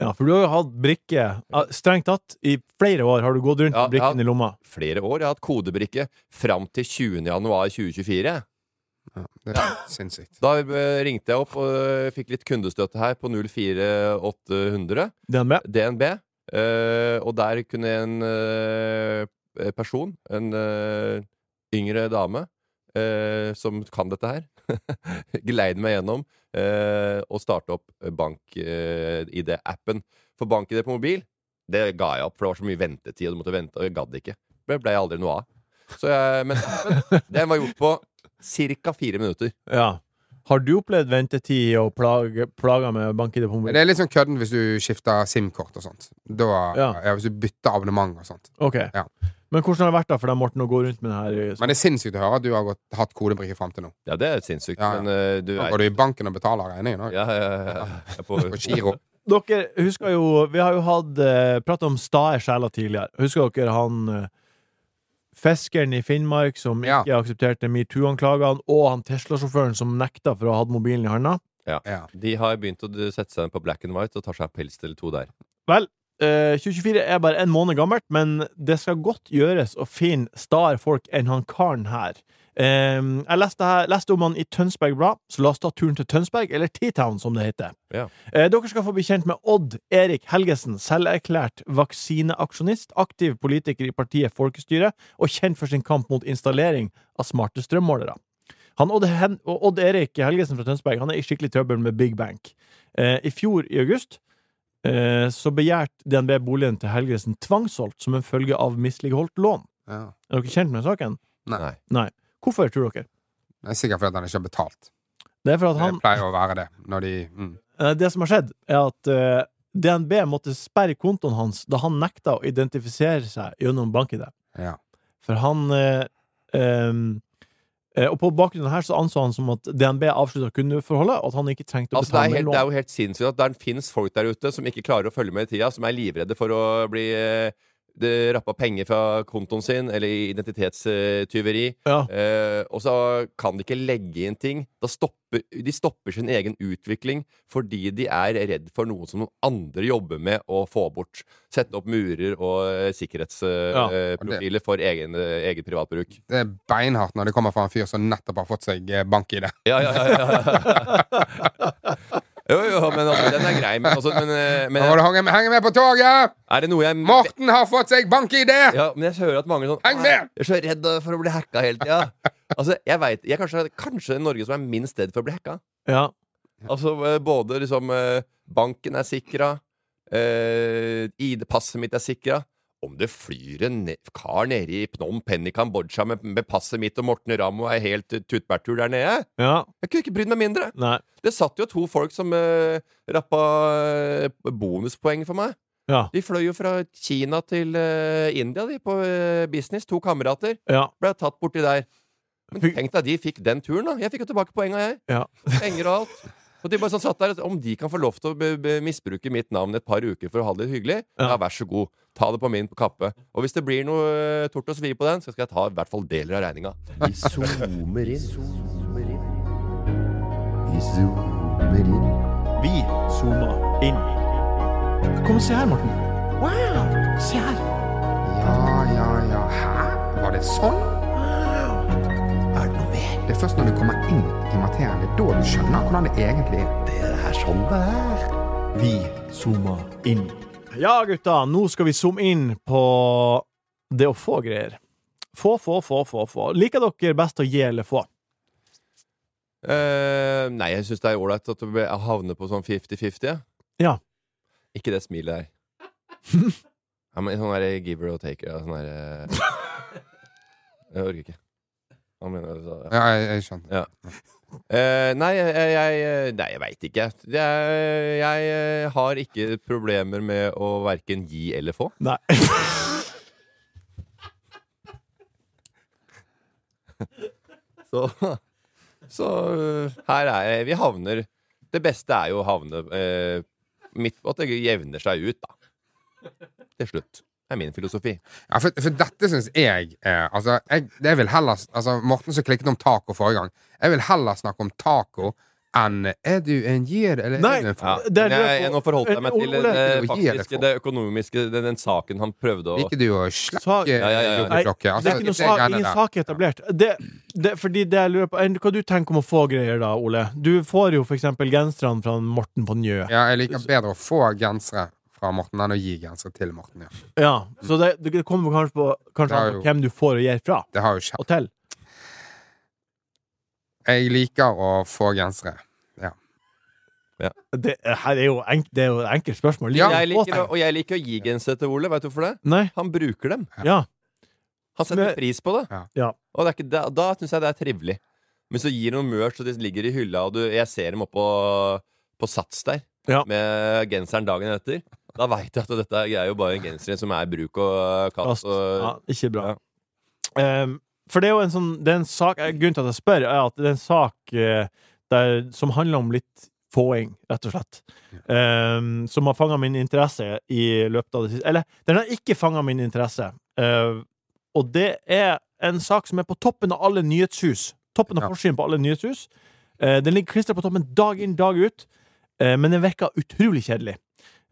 Speaker 2: Ja, for du har jo hatt brikke ja, Strengt tatt, i flere år har du gått rundt
Speaker 5: Ja,
Speaker 2: med brikken
Speaker 5: ja.
Speaker 2: i lomma.
Speaker 5: Flere år. Jeg har hatt kodebrikke fram til 20. januar 2024.
Speaker 4: ja, Det er sinnssykt.
Speaker 5: Da eh, ringte jeg opp og eh, fikk litt kundestøtte her på 04800
Speaker 2: DNB.
Speaker 5: DNB. eh, og der kunne en eh, eh, person, en eh, yngre dame, eh, som kan dette her, <laughs> geleide meg gjennom eh, å starte opp BankID-appen. For BankID på mobil, det ga jeg opp, for det var så mye ventetid, og du måtte vente, og jeg gadd ikke. Det ble jeg aldri noe av. Så jeg, men appen, den var gjort på ca. fire minutter.
Speaker 2: Ja. Har du opplevd ventetid og plage, plager med bank-ID på
Speaker 4: Det
Speaker 2: mobil?
Speaker 4: er litt sånn kødden hvis du skifter SIM-kort og sånt. Da, ja.
Speaker 2: Ja.
Speaker 4: hvis du bytter abonnement og sånt.
Speaker 2: Ok.
Speaker 4: Ja.
Speaker 2: Men hvordan har det vært da for deg, Morten, å gå rundt med det her? eh, i-
Speaker 4: Men det er sinnssykt å høre at du har gått, hatt kodebrikke fram til nå.
Speaker 5: Ja, det er sinnssykt,
Speaker 4: Ja, ja.
Speaker 5: men eh, du
Speaker 4: Nå
Speaker 5: er
Speaker 4: går du i banken og betaler regningen òg.
Speaker 5: ja, ja, ja, ja. På,
Speaker 4: På
Speaker 5: <laughs>
Speaker 4: giro.
Speaker 2: Dere husker jo Vi har jo hatt eh, pratet om stae sjeler tidligere. Husker dere han eh, fiskeren i Finnmark som
Speaker 4: Ja.
Speaker 2: ikke aksepterte metoo-anklagene, og han Tesla-sjåføren som nekta for å ha hatt mobilen i handa?
Speaker 4: Ja.
Speaker 5: De har begynt å sette seg på black and white og tar seg en pils til to der.
Speaker 2: Eh, 2024 er bare en måned gammelt, men det skal godt gjøres å finne staer folk enn han karen her. Eh, jeg leste, her, leste om han i Tønsberg Blad, så la oss ta turen til Tønsberg, eller T-Town som det heter.
Speaker 5: Ja.
Speaker 2: Eh, dere skal få bli kjent med Odd Erik Helgesen, selverklært vaksineaksjonist, aktiv politiker i partiet Folkestyret og kjent for sin kamp mot installering av smarte strømmålere. Han Odd, Hen og Odd Erik Helgesen fra Tønsberg han er i skikkelig trøbbel med Big Bank. Eh, I fjor, i august, eh, så begjært DNB boligen til Helgesen tvangssolgt som en følge av misligholdt lån.
Speaker 4: Ja.
Speaker 2: Er dere kjent med saken?
Speaker 4: Nei.
Speaker 5: Nei.
Speaker 2: Hvorfor, tror dere?
Speaker 4: Det er sikkert fordi han ikke har betalt.
Speaker 2: Det er for at
Speaker 4: Det
Speaker 2: han
Speaker 4: pleier å være det når de mm.
Speaker 2: eh, Det som har skjedd, er at eh, DNB måtte sperre kontoen hans da han nekta å identifisere seg gjennom bank-ID.
Speaker 4: Ja.
Speaker 2: For han eh, em, eh, Og på bakgrunnen her så anså han som at DNB avslutta kundeforholdet, og at han ikke trengte å
Speaker 5: Altså, det, er
Speaker 2: betale
Speaker 5: helt,
Speaker 2: mer
Speaker 5: det er
Speaker 2: lån.
Speaker 5: jo helt sinnssykt at det fins folk der ute som ikke klarer å følge med i tida, som er livredde for å bli eh, det- rappa penger fra kontoen sin eller identitetstyveri.
Speaker 2: Ja.
Speaker 5: Eh, og så kan de ikke legge inn ting. Da stopper, de stopper sin egen utvikling fordi de er redd for noe som noen andre jobber med å få bort. Sette opp murer og eh,
Speaker 2: Ja.
Speaker 5: sikkerhetsprofiler eh, for egen, eh, eget privatbruk.
Speaker 4: Det er beinhardt når det kommer fra en fyr som nettopp har fått seg eh, bank-ID.
Speaker 5: Ja, ja, ja, ja. Jo, jo, men altså, den er grei. Men, altså, men, eh,
Speaker 4: Nå må
Speaker 5: men
Speaker 4: du henge med, henge med på toget!
Speaker 5: er det noe jeg
Speaker 4: Morten har fått seg bank-ID!
Speaker 5: ja, men jeg hører at mange sånn
Speaker 4: Heng med!
Speaker 5: Jeg er så redd for å bli hacka hele tida. Altså, jeg vet, jeg er kanskje, kanskje Norge som er minst redd for å bli hacka.
Speaker 2: Ja.
Speaker 5: Altså eh, både liksom eh, Banken er sikra, eh, ID-passet mitt er sikra. Om det flyr en ne kar nede i Phnom Penh i Kambodsja med, med passet mitt og Morten Ramm og er helt eh, tutbærtur der nede
Speaker 2: ja.
Speaker 5: Jeg kunne ikke brydd meg mindre!
Speaker 2: Nei.
Speaker 5: Det satt jo to folk som eh, rappa eh, bonuspoeng for meg.
Speaker 2: Ja.
Speaker 5: De fløy jo fra Kina til eh, India, de, på eh, business. To kamerater.
Speaker 2: Ja.
Speaker 5: Ble tatt borti der. Men
Speaker 2: Fy-
Speaker 5: tenk deg, de fikk den turen, da. Jeg fikk jo tilbake poenga, jeg.
Speaker 2: Ja.
Speaker 5: Penger og alt. Og de bare sånn satt der Om de kan få lov til å be- be- misbruke mitt navn et par uker for å ha det litt hyggelig, ja,
Speaker 2: Ja.
Speaker 5: vær så god. Ta det på min kappe. Og hvis det blir noe eh, tort og svi på den, så skal jeg ta i hvert fall deler av regninga.
Speaker 3: Vi zoomer inn. Zoomer inn. Vi zoomer inn.
Speaker 2: Vi zooma inn. Kom og se her, Morten. Wow! Se her.
Speaker 4: Ja, ja, ja. Hæ? Var det <gasps> sånn?
Speaker 3: Er det noe mer?
Speaker 4: Det er først når du kommer inn i materien, det er da du skjønner hvordan det egentlig er.
Speaker 3: Det er sånn det er.
Speaker 2: Vi zooma inn. Ja, gutta, nå skal vi zoome inn på det å få greier. Få, få, få, få. få. Liker dere best å gi eller få?
Speaker 5: Eh, nei, jeg syns det er ålreit at du be- havner på sånn 50-50. jeg.
Speaker 2: Ja.
Speaker 5: Ikke det smilet der. ja, men sånn der giver og taker ja, sånn der, eh, Jeg orker ikke. Hva mener du? sa jeg?
Speaker 4: Ja, jeg, jeg skjønte.
Speaker 5: Eh, nei, jeg, jeg Nei, jeg veit ikke. Det er, jeg eh, har ikke problemer med å verken gi eller få.
Speaker 2: Nei.
Speaker 5: Så, så øh, her er jeg. Vi havner Det beste er jo å havne eh, midt på at det jevner seg ut, da. Til slutt. Det er min filosofi.
Speaker 4: Ja, for, for dette syns jeg eh, Altså, jeg, jeg vil heller altså, Morten som klikket om taco forrige gang. Jeg vil heller snakke om taco enn Er du en gir, eller
Speaker 2: Nei.
Speaker 4: er du en
Speaker 5: Ja.
Speaker 4: for?
Speaker 2: Det er
Speaker 5: Men jeg,
Speaker 2: det-
Speaker 5: jeg, nå forholdt jeg meg til
Speaker 2: Ole-
Speaker 5: det,
Speaker 4: Ole-
Speaker 5: faktiske, det økonomiske, den, den saken han prøvde å
Speaker 4: Liker du å slakke
Speaker 2: Sa-
Speaker 5: Ja, ja, ja, ja.
Speaker 4: jordeklokke?
Speaker 2: det er
Speaker 4: Altså,
Speaker 2: ikke
Speaker 4: det
Speaker 2: noe sak,
Speaker 4: greiene
Speaker 2: ingen
Speaker 4: der.
Speaker 2: sak etablert. Det, det, fordi det jeg lurer på, enn- Hva du tenker om å få greier, da, Ole? Du får jo for eksempel genserne fra Morten på Njø.
Speaker 4: Ja, jeg liker bedre å få gensere fra Morten. Han og Jigenser til Morten, ja.
Speaker 2: Ja, så det, det kommer kanskje på,
Speaker 4: Det
Speaker 2: kanskje
Speaker 4: er
Speaker 2: an på
Speaker 4: jo-
Speaker 2: hvem du får og gir fra.
Speaker 4: Det har jo skjedd.
Speaker 2: Og til.
Speaker 4: Jeg liker å få gensere.
Speaker 2: Det her er jo, enk, det er jo et enkelt spørsmål.
Speaker 4: Ja.
Speaker 5: jeg liker, å- og jeg liker å gi genser til Ole. Vet du hvorfor det?
Speaker 2: Nei?
Speaker 5: Han bruker dem.
Speaker 2: Ja.
Speaker 5: Han setter
Speaker 2: Men-
Speaker 5: pris på det.
Speaker 4: Ja.
Speaker 2: Ja.
Speaker 5: Og det er ikke, da, da syns jeg det er trivelig. Men så gir noen mørs, og de ligger i hylla, og du, jeg ser dem oppå på Sats der
Speaker 2: Ja.
Speaker 5: med genseren dagen etter. Da veit jeg at dette er jo bare en genser som er i bruk og kast.
Speaker 2: Kast.
Speaker 5: Og,
Speaker 2: Ja, ikke bra. Ehm, for det er jo en sånn det er en sak, eh, Grunnen til at jeg spør, er at det er en sak eh, der, som handler om litt fåing, rett og slett. Ehm, som har fanga min interesse i løpet av det siste Eller, den har ikke fanga min interesse. Eh, og det er en sak som er på toppen av alle nyhetshus. Toppen av
Speaker 4: Ja.
Speaker 2: forsiden på alle nyhetshus. Eh, den ligger klistra på toppen dag inn, dag ut. Eh, men den virker utrolig kjedelig.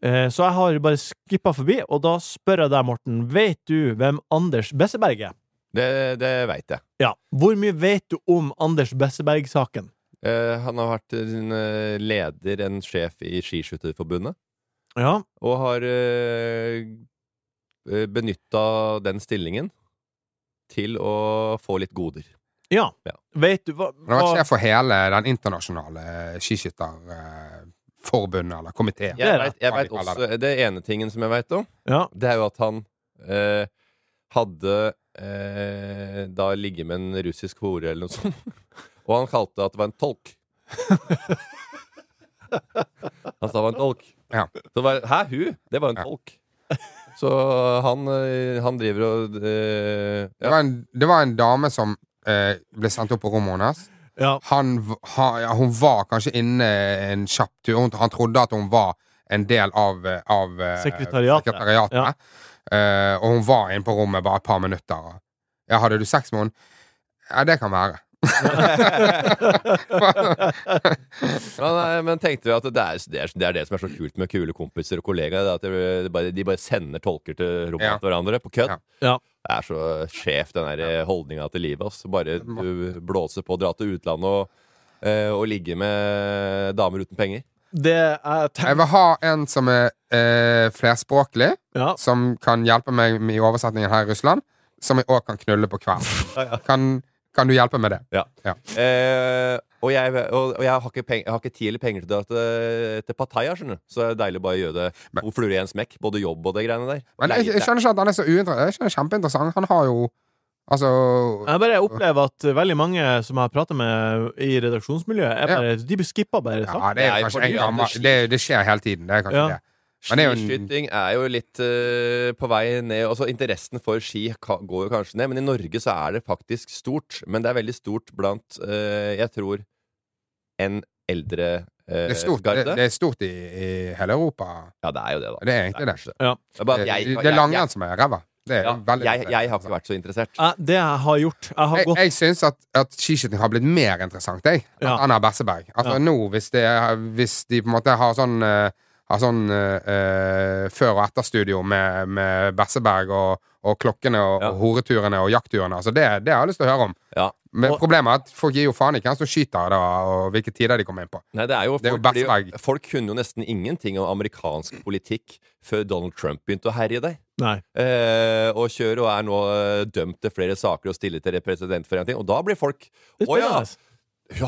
Speaker 2: Eh, Så jeg har bare skippa forbi, og da spør jeg deg, Morten, vet du hvem Anders Besseberg er?
Speaker 5: det det veit jeg.
Speaker 2: Ja. Hvor mye vet du om Anders Besseberg-saken?
Speaker 5: Eh, han har vært en eh, leder, en sjef i Skiskytterforbundet,
Speaker 2: Ja.
Speaker 5: og har eh, benytta den stillingen til å få litt goder.
Speaker 2: ja.
Speaker 5: Ja.
Speaker 2: Vet du hva,
Speaker 4: Han har vært
Speaker 2: hva
Speaker 4: sjef for hele den internasjonale eh, skiskytterforbundet, eller komiteen.
Speaker 2: Ja. Det
Speaker 5: Jeg
Speaker 2: er
Speaker 5: vet, jeg vet også Det ene tingen som jeg veit om,
Speaker 2: ja.
Speaker 5: det er jo at han eh, hadde eh, da ligget med en russisk hore eller noe sånt. <laughs> Og han kalte at det var en tolk. Han sa det var en tolk.
Speaker 4: Ja.
Speaker 5: Så det var, Hæ, hun? Det var en
Speaker 4: Ja.
Speaker 5: tolk. Så han, eh, han driver og eh,
Speaker 4: Det,
Speaker 5: ja.
Speaker 4: var en, det var en dame som eh, ble sendt opp på rommet hennes.
Speaker 2: ja.
Speaker 4: Han, v- ha, ja, hun var kanskje inne en kjapp tur. Hun, han trodde at hun var en del av, eh, av eh,
Speaker 2: Sekretariatet.
Speaker 4: sekretariatet.
Speaker 2: Ja.
Speaker 4: Eh, og hun var inne på rommet bare et par minutter. Og, ja, hadde du sex med henne? Ja, det kan være.
Speaker 5: men, eh, men tenkte vi at det er, det, er, det er det som er så kult med kule kompiser og kollegaer. Det er at det, det bare, de bare sender tolker til rommet
Speaker 4: Ja.
Speaker 5: til hverandre på kødd.
Speaker 4: Ja.
Speaker 2: Ja.
Speaker 5: Det er så skjev, den der holdninga til livet. ass. Bare du blåser på, dra til utlandet og, eh, og ligge med damer uten penger.
Speaker 2: Det jeg
Speaker 4: Jeg
Speaker 2: tenker
Speaker 4: vil ha en som er eh, flerspråklig,
Speaker 2: ja.
Speaker 4: som kan hjelpe meg med- i oversetningen her i Russland, som jeg òg kan knulle på kvelden. Kan, kan du hjelpe med det?
Speaker 5: Ja.
Speaker 4: Ja.
Speaker 5: Eh, og jeg, og, og jeg, har ikke peng, jeg har ikke tid eller penger til å dra til, til Pattaya, skjønner du. Så det er deilig å bare gjøre det.
Speaker 4: Men-
Speaker 5: to fluer i en smekk. Både jobb og det greiene der.
Speaker 4: Men jeg, jeg
Speaker 5: Leie-
Speaker 4: skjønner ikke at han er så uinteressant. Jeg skjønner kjempeinteressant. Han har jo Altså
Speaker 2: Jeg bare opplever at veldig mange som jeg har prata med i redaksjonsmiljøet, er
Speaker 4: Ja.
Speaker 2: bare, de skipper bare
Speaker 4: Ja,
Speaker 2: saken.
Speaker 5: Nei,
Speaker 4: det er jo kanskje
Speaker 5: fordi
Speaker 4: en
Speaker 5: at det
Speaker 4: gammel
Speaker 5: skjer.
Speaker 4: det, det skjer hele tiden. Det er kanskje
Speaker 2: Ja.
Speaker 4: det. Men det er jo en-
Speaker 5: Skiskyting er jo litt eh, på vei ned. Altså, interessen for ski ka går jo kanskje ned, men i Norge så er det faktisk stort. Men det er veldig stort blant, eh, jeg tror, en eldre eh,
Speaker 4: Det er stort,
Speaker 5: garde.
Speaker 4: det, det er stort i, i hele Europa.
Speaker 5: Ja, det er jo det, da.
Speaker 4: Det er egentlig det. Eh,
Speaker 5: kanskje
Speaker 2: Ja.
Speaker 5: Det er bare at
Speaker 4: Det,
Speaker 5: jeg-
Speaker 4: det er
Speaker 5: jeg-
Speaker 4: langrenn som er ræva. Det er
Speaker 5: Ja,
Speaker 4: veldig
Speaker 5: jeg, jeg har ikke vært så interessert.
Speaker 2: Jeg- Det jeg har gjort Jeg har
Speaker 4: Jeg,
Speaker 2: gått
Speaker 4: jeg syns at, at skiskyting har blitt mer interessant, jeg.
Speaker 2: Ja.
Speaker 4: Anna Besseberg. Altså
Speaker 2: Ja.
Speaker 4: nå, hvis, det, er- hvis de på en måte har sånn eh, har sånn eh, eh, før- og etterstudio med, med Besseberg og, og klokkene og,
Speaker 5: Ja.
Speaker 4: og horeturene og jaktturene. Altså det, det har jeg lyst til å høre om.
Speaker 5: Ja.
Speaker 4: Men
Speaker 2: Og-
Speaker 4: problemet er at folk gir jo faen i hvem som skyter, da, og hvilke tider de kommer inn på.
Speaker 5: Nei, det er jo,
Speaker 4: Det er jo
Speaker 5: folk, blir jo,
Speaker 4: Basberg.
Speaker 5: folk kunne jo nesten ingenting om amerikansk politikk før Donald Trump begynte å herje der.
Speaker 2: Nei.
Speaker 5: Eh, og kjører og er nå eh, dømt til flere saker og stiller til representantforening. Og da blir folk
Speaker 2: Det er
Speaker 5: Å ja!
Speaker 2: spennende.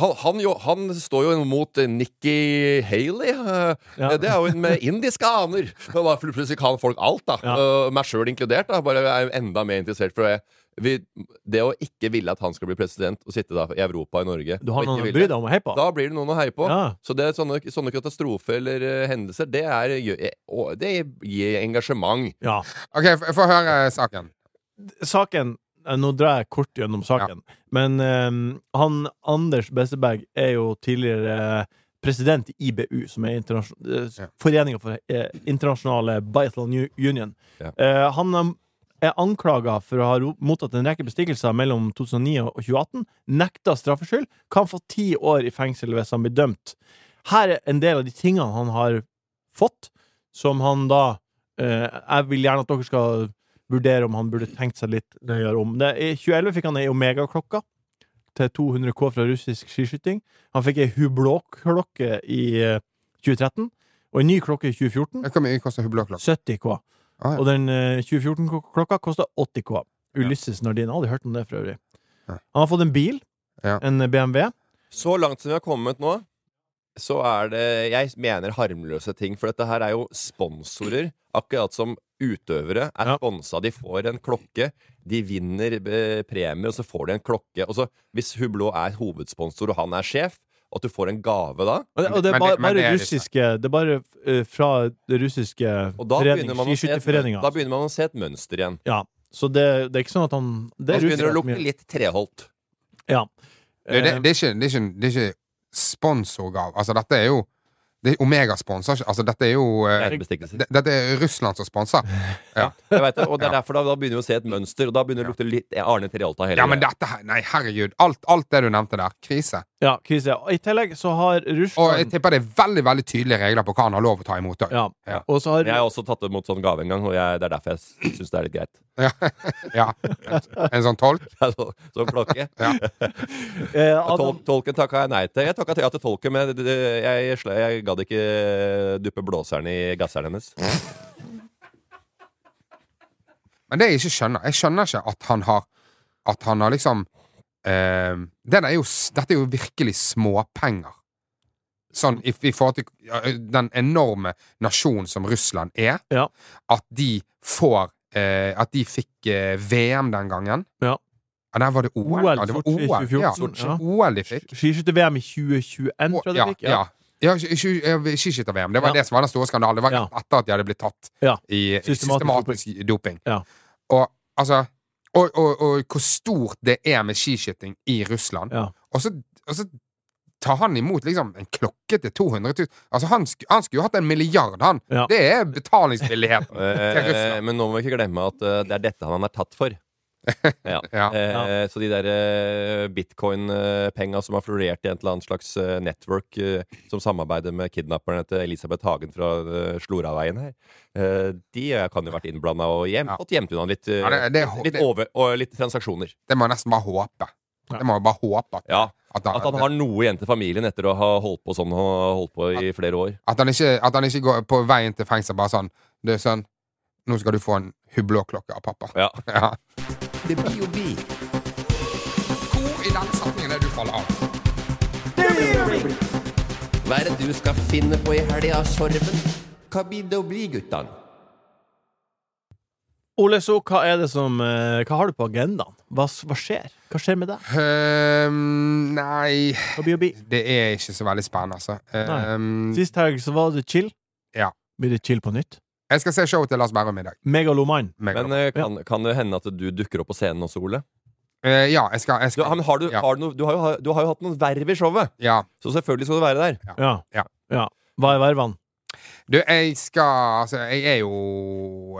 Speaker 5: Han, han, jo, han står jo mot eh, Nikki Haley. eh,
Speaker 2: Ja.
Speaker 5: Det er jo en med
Speaker 2: <laughs>
Speaker 5: indiske aner. Og da Plutselig kan folk alt, da.
Speaker 2: Ja.
Speaker 5: eh, Meg sjøl inkludert. da Bare er jo enda mer interessert. For det, vi, det å ikke ville at han skal bli president, og sitte da i Europa og i Norge
Speaker 2: Du har
Speaker 5: og ikke
Speaker 2: noen å
Speaker 5: ville-
Speaker 2: bry deg om og heie på?
Speaker 5: Da blir det noen å heie på.
Speaker 2: Ja.
Speaker 5: Så det er sånne, sånne katastrofer eller eh, hendelser, det, er, gjør- eh, å, det gir engasjement.
Speaker 2: Ja.
Speaker 4: OK, f- få høre saken.
Speaker 2: saken eh, Nå drar jeg kort gjennom saken, men eh, han Anders Besseberg er jo tidligere eh, president i IBU, som er
Speaker 4: Ja.
Speaker 2: internasjon- eh, Foreningen for eh, internasjonale Biathlon U- Union.
Speaker 5: Ja.
Speaker 2: Eh, han eh, er anklaga for å ha ro- mottatt en rekke bestikkelser mellom 2009 og 2018, nekta straffskyld, kan få ti år i fengsel hvis han blir dømt. Her er en del av de tingene han har fått, som han da eh, Jeg vil gjerne at dere skal vurdere om han burde tenkt seg litt nøyere om. Det, I 2011 fikk han ei Omega-klokka til 200 K fra russisk skiskyting. Han fikk ei Hublot-klokke i eh, 2013. Og en ny klokke i 2014
Speaker 4: Hvor mye koster blå klokke?
Speaker 2: 70 K.
Speaker 4: Ah, ja.
Speaker 2: Og den 2014-klokka koster 80 K. Ulysses Nardin. Aldri hørt om det, for øvrig.
Speaker 4: Nei.
Speaker 2: Han har fått en bil.
Speaker 4: Ja.
Speaker 2: En eh, BMW.
Speaker 5: Så langt som vi har kommet nå, så er det Jeg mener harmløse ting, for dette her er jo sponsorer. Akkurat som utøvere er
Speaker 2: Ja.
Speaker 5: sponsa. De får en klokke, de vinner eh, premier, og så får de en klokke. Og så, hvis Hublot er hovedsponsor, og han er sjef, og at du får en gave da
Speaker 2: Og det, og det er
Speaker 4: Men-
Speaker 2: bare,
Speaker 4: men
Speaker 2: bare
Speaker 4: det er litt-
Speaker 2: russiske Det er bare eh, fra det russiske
Speaker 5: og da
Speaker 2: forening-
Speaker 5: begynner, man å se et,
Speaker 2: skiskytterforeninga.
Speaker 5: da begynner man å se et mønster igjen.
Speaker 2: Ja. Så det, det er ikke sånn at han
Speaker 5: Da
Speaker 2: Det er
Speaker 5: begynner det å
Speaker 2: russiske.
Speaker 5: lukte
Speaker 2: mye.
Speaker 5: litt Treholt.
Speaker 2: Ja.
Speaker 4: Det, det, det, er ikke, det, er ikke, det er ikke sponsorgave. Altså, dette er jo det, Omega sponser ikke. Altså, dette er jo eh,
Speaker 5: Ærebestikkelse.
Speaker 4: det- Dette er Russland som sponser. Ja.
Speaker 5: Jeg vet det, og det er
Speaker 4: Ja.
Speaker 5: derfor da, da begynner vi å se et mønster, og da begynner det å lukte litt Arne Treholt av hele
Speaker 4: ja, men
Speaker 5: greia.
Speaker 4: dette her Nei, herregud. Alt, alt det du nevnte der. Krise.
Speaker 2: Eh, Ja, krise. Og I tillegg så har
Speaker 4: Og jeg
Speaker 2: Russland
Speaker 4: tipper det er veldig veldig tydelige regler på hva han har lov å ta imot. også.
Speaker 2: ja.
Speaker 4: Ja.
Speaker 2: Og så har
Speaker 5: Jeg har også tatt imot sånn gave en gang, og jeg, det er derfor jeg syns det er litt greit. <laughs>
Speaker 4: Ja. En sånn tolk?
Speaker 5: Altså, Sånn klokke.
Speaker 2: eh, Adam,
Speaker 5: Tol tolken takka jeg nei til. Jeg takka ja til tolken, men det- det- jeg, sla- jeg gadd ikke duppe blåseren i gasseren
Speaker 4: <laughs>
Speaker 5: hennes.
Speaker 4: Men det jeg ikke skjønner Jeg skjønner ikke at han har At han har liksom eh, den er jo, s- Dette er jo virkelig småpenger. Sånn i, i forhold til ja, den enorme nasjonen som Russland er.
Speaker 2: Ja.
Speaker 4: At de får eh, At de fikk eh, VM den gangen.
Speaker 2: Ja.
Speaker 4: Ja, der var det OL.
Speaker 2: OL,
Speaker 4: ja, det var
Speaker 2: Sotsji
Speaker 4: OL, ja.
Speaker 2: 2014,
Speaker 4: Sotsji.
Speaker 2: ja.
Speaker 4: OL de fikk.
Speaker 2: skiskytter-VM i 2021, tror jeg det
Speaker 4: ja,
Speaker 2: fikk.
Speaker 4: ja. ja. ikke- ikke- ja, Skiskytter-VM. Det var
Speaker 2: Ja.
Speaker 4: det som var den store skandalen. Det var
Speaker 2: Ja.
Speaker 4: rett etter at de hadde blitt tatt
Speaker 2: Ja.
Speaker 4: i
Speaker 2: Systematisk
Speaker 4: systematisk doping.
Speaker 2: Ja.
Speaker 4: Og altså og, og, og hvor stort det er med skiskyting i Russland.
Speaker 2: Ja.
Speaker 4: Og, så, og så tar han imot liksom en klokke til 200 000 Altså, han, sk han skulle jo hatt en milliard, han!
Speaker 2: Ja.
Speaker 4: Det er
Speaker 2: <laughs>
Speaker 4: betalingsvilligheten til
Speaker 5: Eh,
Speaker 4: Russland.
Speaker 5: men nå må vi ikke glemme at eh, det er dette han er tatt
Speaker 4: <laughs>
Speaker 5: for. Ja.
Speaker 4: Ja.
Speaker 5: Eh, så de der eh, bitcoin-penga som har florert i et eller annet slags eh, network eh, som samarbeider med kidnapperne til Elisabeth Hagen fra eh, Sloraveien her, eh, de eh, kan jo ha vært innblanda og hjem,
Speaker 4: Ja.
Speaker 5: fått gjemt unna litt, eh,
Speaker 4: Ja, det- det-
Speaker 5: litt,
Speaker 4: det-
Speaker 5: over, og litt transaksjoner.
Speaker 4: Det må jeg nesten bare håpe.
Speaker 2: Ja.
Speaker 4: Det må jeg bare håpe at,
Speaker 5: Ja,
Speaker 4: at, han,
Speaker 5: At han har noe igjen til familien etter å ha holdt på sånn og holdt på i flere år.
Speaker 4: at, han ikke, at han ikke går på veien til fengsel bare sånn Du, sønn, nå skal du få en hublå-klokke av pappa. <laughs>
Speaker 5: Ja.
Speaker 4: Ja.
Speaker 3: Det blir jo vi.
Speaker 4: Hvor i den setningen er du faller av?
Speaker 5: Hva er det du skal finne på i helga, Sorven? Hva blir det å bli, guttan?
Speaker 2: Ole So, hva er det som eh, Hva har du på agendaen? Hva, s- hva skjer? Hva skjer med deg?
Speaker 4: Ehm, nei
Speaker 2: Hva blir å bli?
Speaker 4: Det er ikke så veldig spennende, altså. Ehm,
Speaker 2: Sist helg så var det chill.
Speaker 4: Ja.
Speaker 2: Blir det chill på nytt?
Speaker 4: jeg skal se showet til Lars Berrum i dag.
Speaker 2: Megaloman.
Speaker 4: Megaloman.
Speaker 5: Men eh, kan, kan det hende at du dukker opp på scenen også, Ole?
Speaker 4: Eh, ja, jeg skal, jeg
Speaker 5: Du
Speaker 4: skal
Speaker 5: har, men har du,
Speaker 4: Ja.
Speaker 5: har du, noe- du, har jo, ha- du har jo hatt noen verv i showet,
Speaker 4: ja.
Speaker 5: så selvfølgelig skal du være der.
Speaker 2: Ja.
Speaker 4: Ja.
Speaker 2: ja. Hva er vervene?
Speaker 4: Du, jeg skal Altså, jeg er jo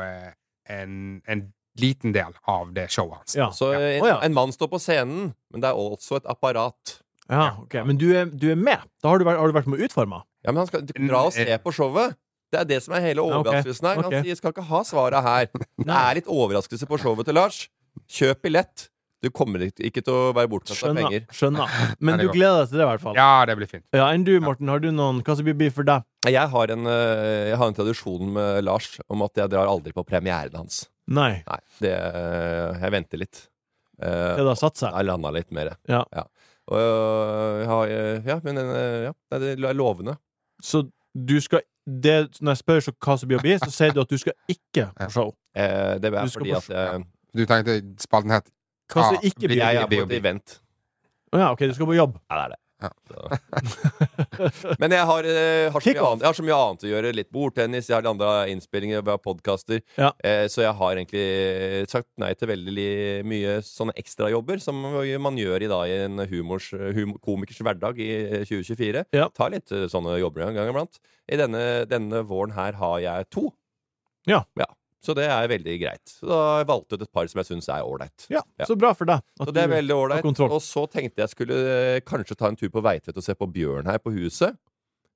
Speaker 4: eh, en, en liten del av det showet hans.
Speaker 2: Ja.
Speaker 5: Så eh,
Speaker 2: Å, ja.
Speaker 5: en mann står på scenen, men det er også et apparat.
Speaker 2: ja ok. Men du er, du er med? Da har du vært, har du vært med å utforme?
Speaker 5: Ja, men han skal dra og se på showet. Det er det som er hele
Speaker 2: Ja, ok.
Speaker 5: overraskelsen her. Han
Speaker 2: Ok.
Speaker 5: sier skal ikke ha svaret her.
Speaker 2: <laughs>
Speaker 5: Det
Speaker 2: Nei.
Speaker 5: er litt overraskelse på showet til Lars. Kjøp billett. Du kommer ikke- ikke til å være bortkasta
Speaker 2: Skjønner.
Speaker 5: penger. <laughs>
Speaker 2: Skjønner.
Speaker 4: Ja,
Speaker 2: Men
Speaker 4: det
Speaker 2: du
Speaker 4: går.
Speaker 2: gleder deg til det, i hvert fall.
Speaker 4: Ja, det blir fint.
Speaker 2: Ja, Enn du, Morten, har du noen Hva som blir å bli for deg?
Speaker 5: Jeg har, en, eh, jeg har en tradisjon med Lars om at jeg drar aldri på premieren hans.
Speaker 2: Nei.
Speaker 5: Nei, det, eh, jeg venter litt. Eh,
Speaker 2: Det har satt seg?
Speaker 5: Jeg landa litt mer.
Speaker 2: Ja.
Speaker 5: Og, øh, jeg har, øh, ja, men øh, ja, nei, det er lovende.
Speaker 2: Så du skal det, Når jeg spør så hva som blir å bli, så sier du at du skal ikke
Speaker 5: <laughs>
Speaker 2: på show.
Speaker 5: Eh, det
Speaker 2: Du
Speaker 5: er
Speaker 2: skal
Speaker 5: fordi
Speaker 2: på
Speaker 5: at jeg,
Speaker 4: Du tenkte spalten het
Speaker 2: Hva som ikke blir å
Speaker 5: Ah, jeg
Speaker 2: bli?
Speaker 5: er på et event.
Speaker 2: Å ja, OK, du skal på jobb.
Speaker 5: Ja, det er det.
Speaker 4: Ja.
Speaker 5: Så. <laughs> Men jeg har, øh, har, så mye
Speaker 2: Kickoff.
Speaker 5: annet, jeg har så mye annet å gjøre. Litt bordtennis, jeg har andre innspillinger, jeg har podkaster.
Speaker 2: Ja.
Speaker 5: Eh, så jeg har egentlig eh, sagt nei til veldig li- mye sånne ekstrajobber som man gjør i dag i en humors, hum, komikers hverdag i 2024.
Speaker 2: Ja.
Speaker 5: Tar litt øh, sånne jobber en gang iblant. I denne, denne våren her har jeg to.
Speaker 2: Ja.
Speaker 5: Så det er veldig greit. Så da har jeg valgt ut et par som jeg syns er ålreit.
Speaker 2: Ja,
Speaker 5: Ja.
Speaker 2: Så bra for deg. at
Speaker 5: Så det er
Speaker 2: du-
Speaker 5: veldig ålreit.
Speaker 2: kontroll.
Speaker 5: Og så tenkte jeg skulle eh, kanskje ta en tur på Veitvet og se på Bjørn her på huset.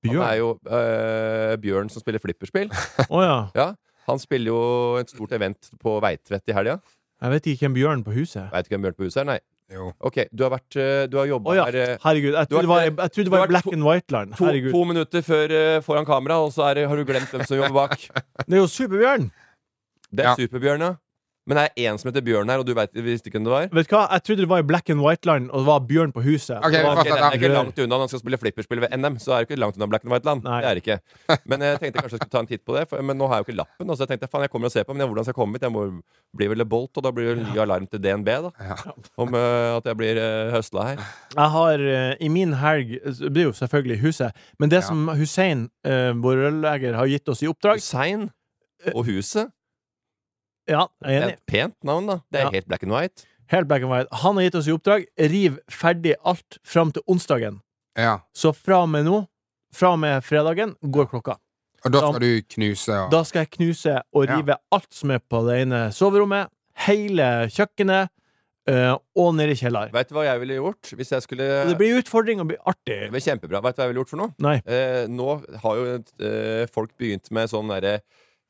Speaker 5: Han er
Speaker 2: Bjørn.
Speaker 5: jo eh, Bjørn som spiller flipperspill.
Speaker 2: Å ja.
Speaker 5: Ja. Han spiller jo et stort event på Veitvet i helga.
Speaker 2: Jeg vet ikke hvem Bjørn på huset er.
Speaker 5: Veit ikke hvem Bjørn på huset er, nei.
Speaker 4: Jo.
Speaker 5: OK, du har vært eh, Du har jobba
Speaker 2: Å ja.
Speaker 5: her eh,
Speaker 2: Herregud, jeg
Speaker 5: Du har
Speaker 2: trodde det var,
Speaker 5: vært-
Speaker 2: jeg trodde det var
Speaker 5: du har
Speaker 2: i Black
Speaker 5: vært
Speaker 2: and White-land.
Speaker 5: to,
Speaker 2: Herregud.
Speaker 5: to minutter før, eh, foran kamera, og så er, det- har du glemt hvem som jobber
Speaker 4: <laughs>
Speaker 5: bak.
Speaker 2: Det er jo Superbjørn!
Speaker 5: Det er
Speaker 4: Ja.
Speaker 5: Superbjørn, ja. Men det er én som heter Bjørn her, og du vet, visste ikke hvem det var?
Speaker 2: Vet du hva, Jeg trodde det var i Black and White-land, og det var Bjørn på huset.
Speaker 4: Ok,
Speaker 2: Det var-
Speaker 5: Ok, det er ikke
Speaker 2: Rør.
Speaker 5: langt unna når han skal spille flipperspill ved NM. Så er det ikke langt unna Black and White Land.
Speaker 2: Nei.
Speaker 5: Det er det ikke. Men jeg tenkte kanskje jeg skulle ta en titt på det, for, men nå har jeg jo ikke lappen. Og så jeg tenkte faen, jeg kommer og ser på, men jeg- hvordan skal jeg komme hit? Jeg må bli vel Bolt, og da blir det ny alarm til DNB, da. Om eh, at jeg blir uh, høsla her.
Speaker 2: Jeg har eh, i min helg Det blir jo selvfølgelig huset. Men det
Speaker 4: Ja.
Speaker 2: som Hussein, eh, vår rørlegger, har gitt oss i oppdrag
Speaker 5: Hussein og Huset.
Speaker 2: Ja, jeg
Speaker 5: Det
Speaker 2: er
Speaker 5: er
Speaker 2: enig.
Speaker 5: et pent navn, da. Det er
Speaker 2: Ja.
Speaker 5: helt black and white.
Speaker 2: Helt black and white. Han har gitt oss i oppdrag riv ferdig alt fram til onsdagen.
Speaker 4: Ja.
Speaker 2: Så fra og med nå, fra og med fredagen, går klokka.
Speaker 4: Og da
Speaker 2: Da-
Speaker 4: skal du knuse og
Speaker 2: Da skal jeg knuse og
Speaker 4: Ja.
Speaker 2: rive alt som er på det ene soverommet, hele kjøkkenet eh, og nede i kjelleren.
Speaker 5: Veit du hva jeg ville gjort hvis jeg skulle
Speaker 2: Og Det blir utfordring og blir artig.
Speaker 5: Det blir kjempebra. Veit du hva jeg ville gjort for noe?
Speaker 2: Nei.
Speaker 5: Eh, nå har jo eh, folk begynt med sånn derre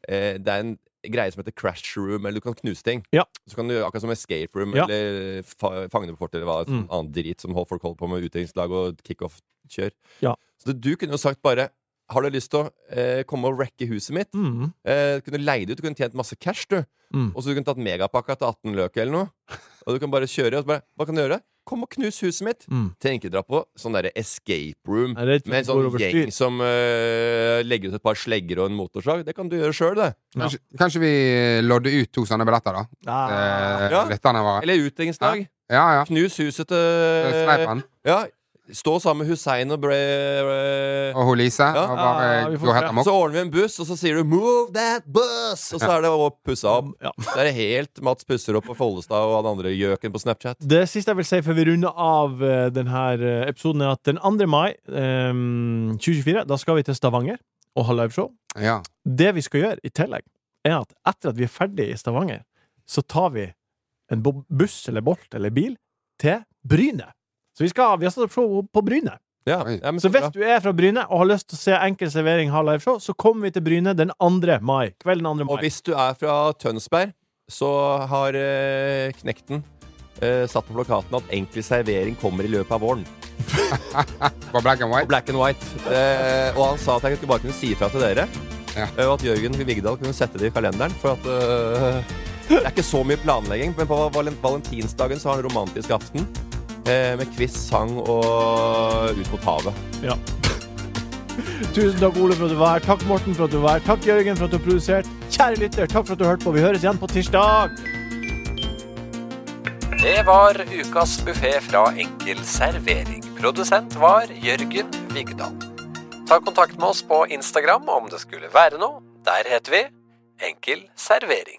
Speaker 5: eh, Det er en greie som heter crash room, eller du kan knuse ting.
Speaker 2: Ja.
Speaker 5: Så kan du gjøre akkurat som escape room
Speaker 2: Ja. Mm.
Speaker 5: eller fa fangeneport eller hva sånn annen drit som hold- folk holder på med utdelingslag og kickoff-kjør.
Speaker 2: Ja.
Speaker 5: Så det, du kunne jo sagt bare har du lyst til å eh, komme og wrecke huset mitt?
Speaker 2: Mm.
Speaker 5: Eh, kunne leid ut, du kunne tjent masse cash, du.
Speaker 2: Mm.
Speaker 5: Og så du kunne tatt megapakka til 18 løk eller noe. Og du kan bare kjøre og så bare Hva kan du gjøre? Kom og knus huset mitt!
Speaker 2: Mm.
Speaker 5: Trenger ikke dra på sånn derre escape room
Speaker 2: Jeg er redd for
Speaker 5: med en
Speaker 2: at det går
Speaker 5: sånn
Speaker 2: over styr.
Speaker 5: gjeng som eh, legger ut et par slegger og en motorsag. Det kan du gjøre sjøl, det.
Speaker 4: kanskje, kanskje vi lodder ut to sånne billetter, da?
Speaker 2: Ah.
Speaker 4: Eh,
Speaker 5: Ja.
Speaker 4: Lytterne våre.
Speaker 5: Eller utdelingslag.
Speaker 4: Ja, ja.
Speaker 5: Knus huset
Speaker 4: Eh,
Speaker 5: til
Speaker 4: Sneipen
Speaker 5: Ja. Stå sammen med Hussein og Bre... eh,
Speaker 4: og hun Lise.
Speaker 5: Ja.
Speaker 4: og bare
Speaker 2: Ah, vi får
Speaker 4: gå helt
Speaker 2: se.
Speaker 4: amok.
Speaker 5: så ordner vi en buss, og så sier du 'move that bus', og så er det å pusse opp.
Speaker 2: Ja.
Speaker 5: Så er det helt Mats pusser opp på Follestad og han andre gjøken på Snapchat.
Speaker 2: Det siste jeg vil si før vi runder av eh, denne episoden, er at den 2. mai eh, 2024, da skal vi til Stavanger og ha liveshow.
Speaker 4: Ja.
Speaker 2: Det vi skal gjøre i tillegg, er at etter at vi er ferdig i Stavanger, så tar vi en bo- buss eller bolt eller bil til Bryne. Så vi, skal, vi har satt opp show på Bryne.
Speaker 5: Ja,
Speaker 4: Oi.
Speaker 5: ja, men
Speaker 2: Så
Speaker 5: så
Speaker 2: hvis
Speaker 5: bra.
Speaker 2: du er fra Bryne og har lyst til å se Enkel servering ha liveshow, så kommer vi til Bryne den 2. mai. Kvelden 2.
Speaker 5: Og
Speaker 2: mai.
Speaker 5: hvis du er fra Tønsberg, så har eh, Knekten eh, satt på plakaten at enkel servering kommer i løpet av våren.
Speaker 4: På black and
Speaker 5: Og
Speaker 4: white.
Speaker 5: black and white. Eh, og han sa at jeg ikke bare kunne si ifra til dere.
Speaker 4: Ja.
Speaker 5: eh, Og at Jørgen Vigdal kunne sette det i kalenderen. For at eh, det er ikke så mye planlegging. Men på valen valentinsdagen så har han en romantisk aften. eh, med quiz, sang og Ut mot havet.
Speaker 2: Ja. Tusen takk, Ole, for at du var her. Takk, Morten, for at du var her. Takk, Jørgen, for at du har produsert. Kjære lytter, takk for at du hørte på. Vi høres igjen på tirsdag.
Speaker 6: Det var ukas buffé fra Enkel servering. Produsent var Jørgen Vigdal. Ta kontakt med oss på Instagram om det skulle være noe. Der heter vi Enkel servering.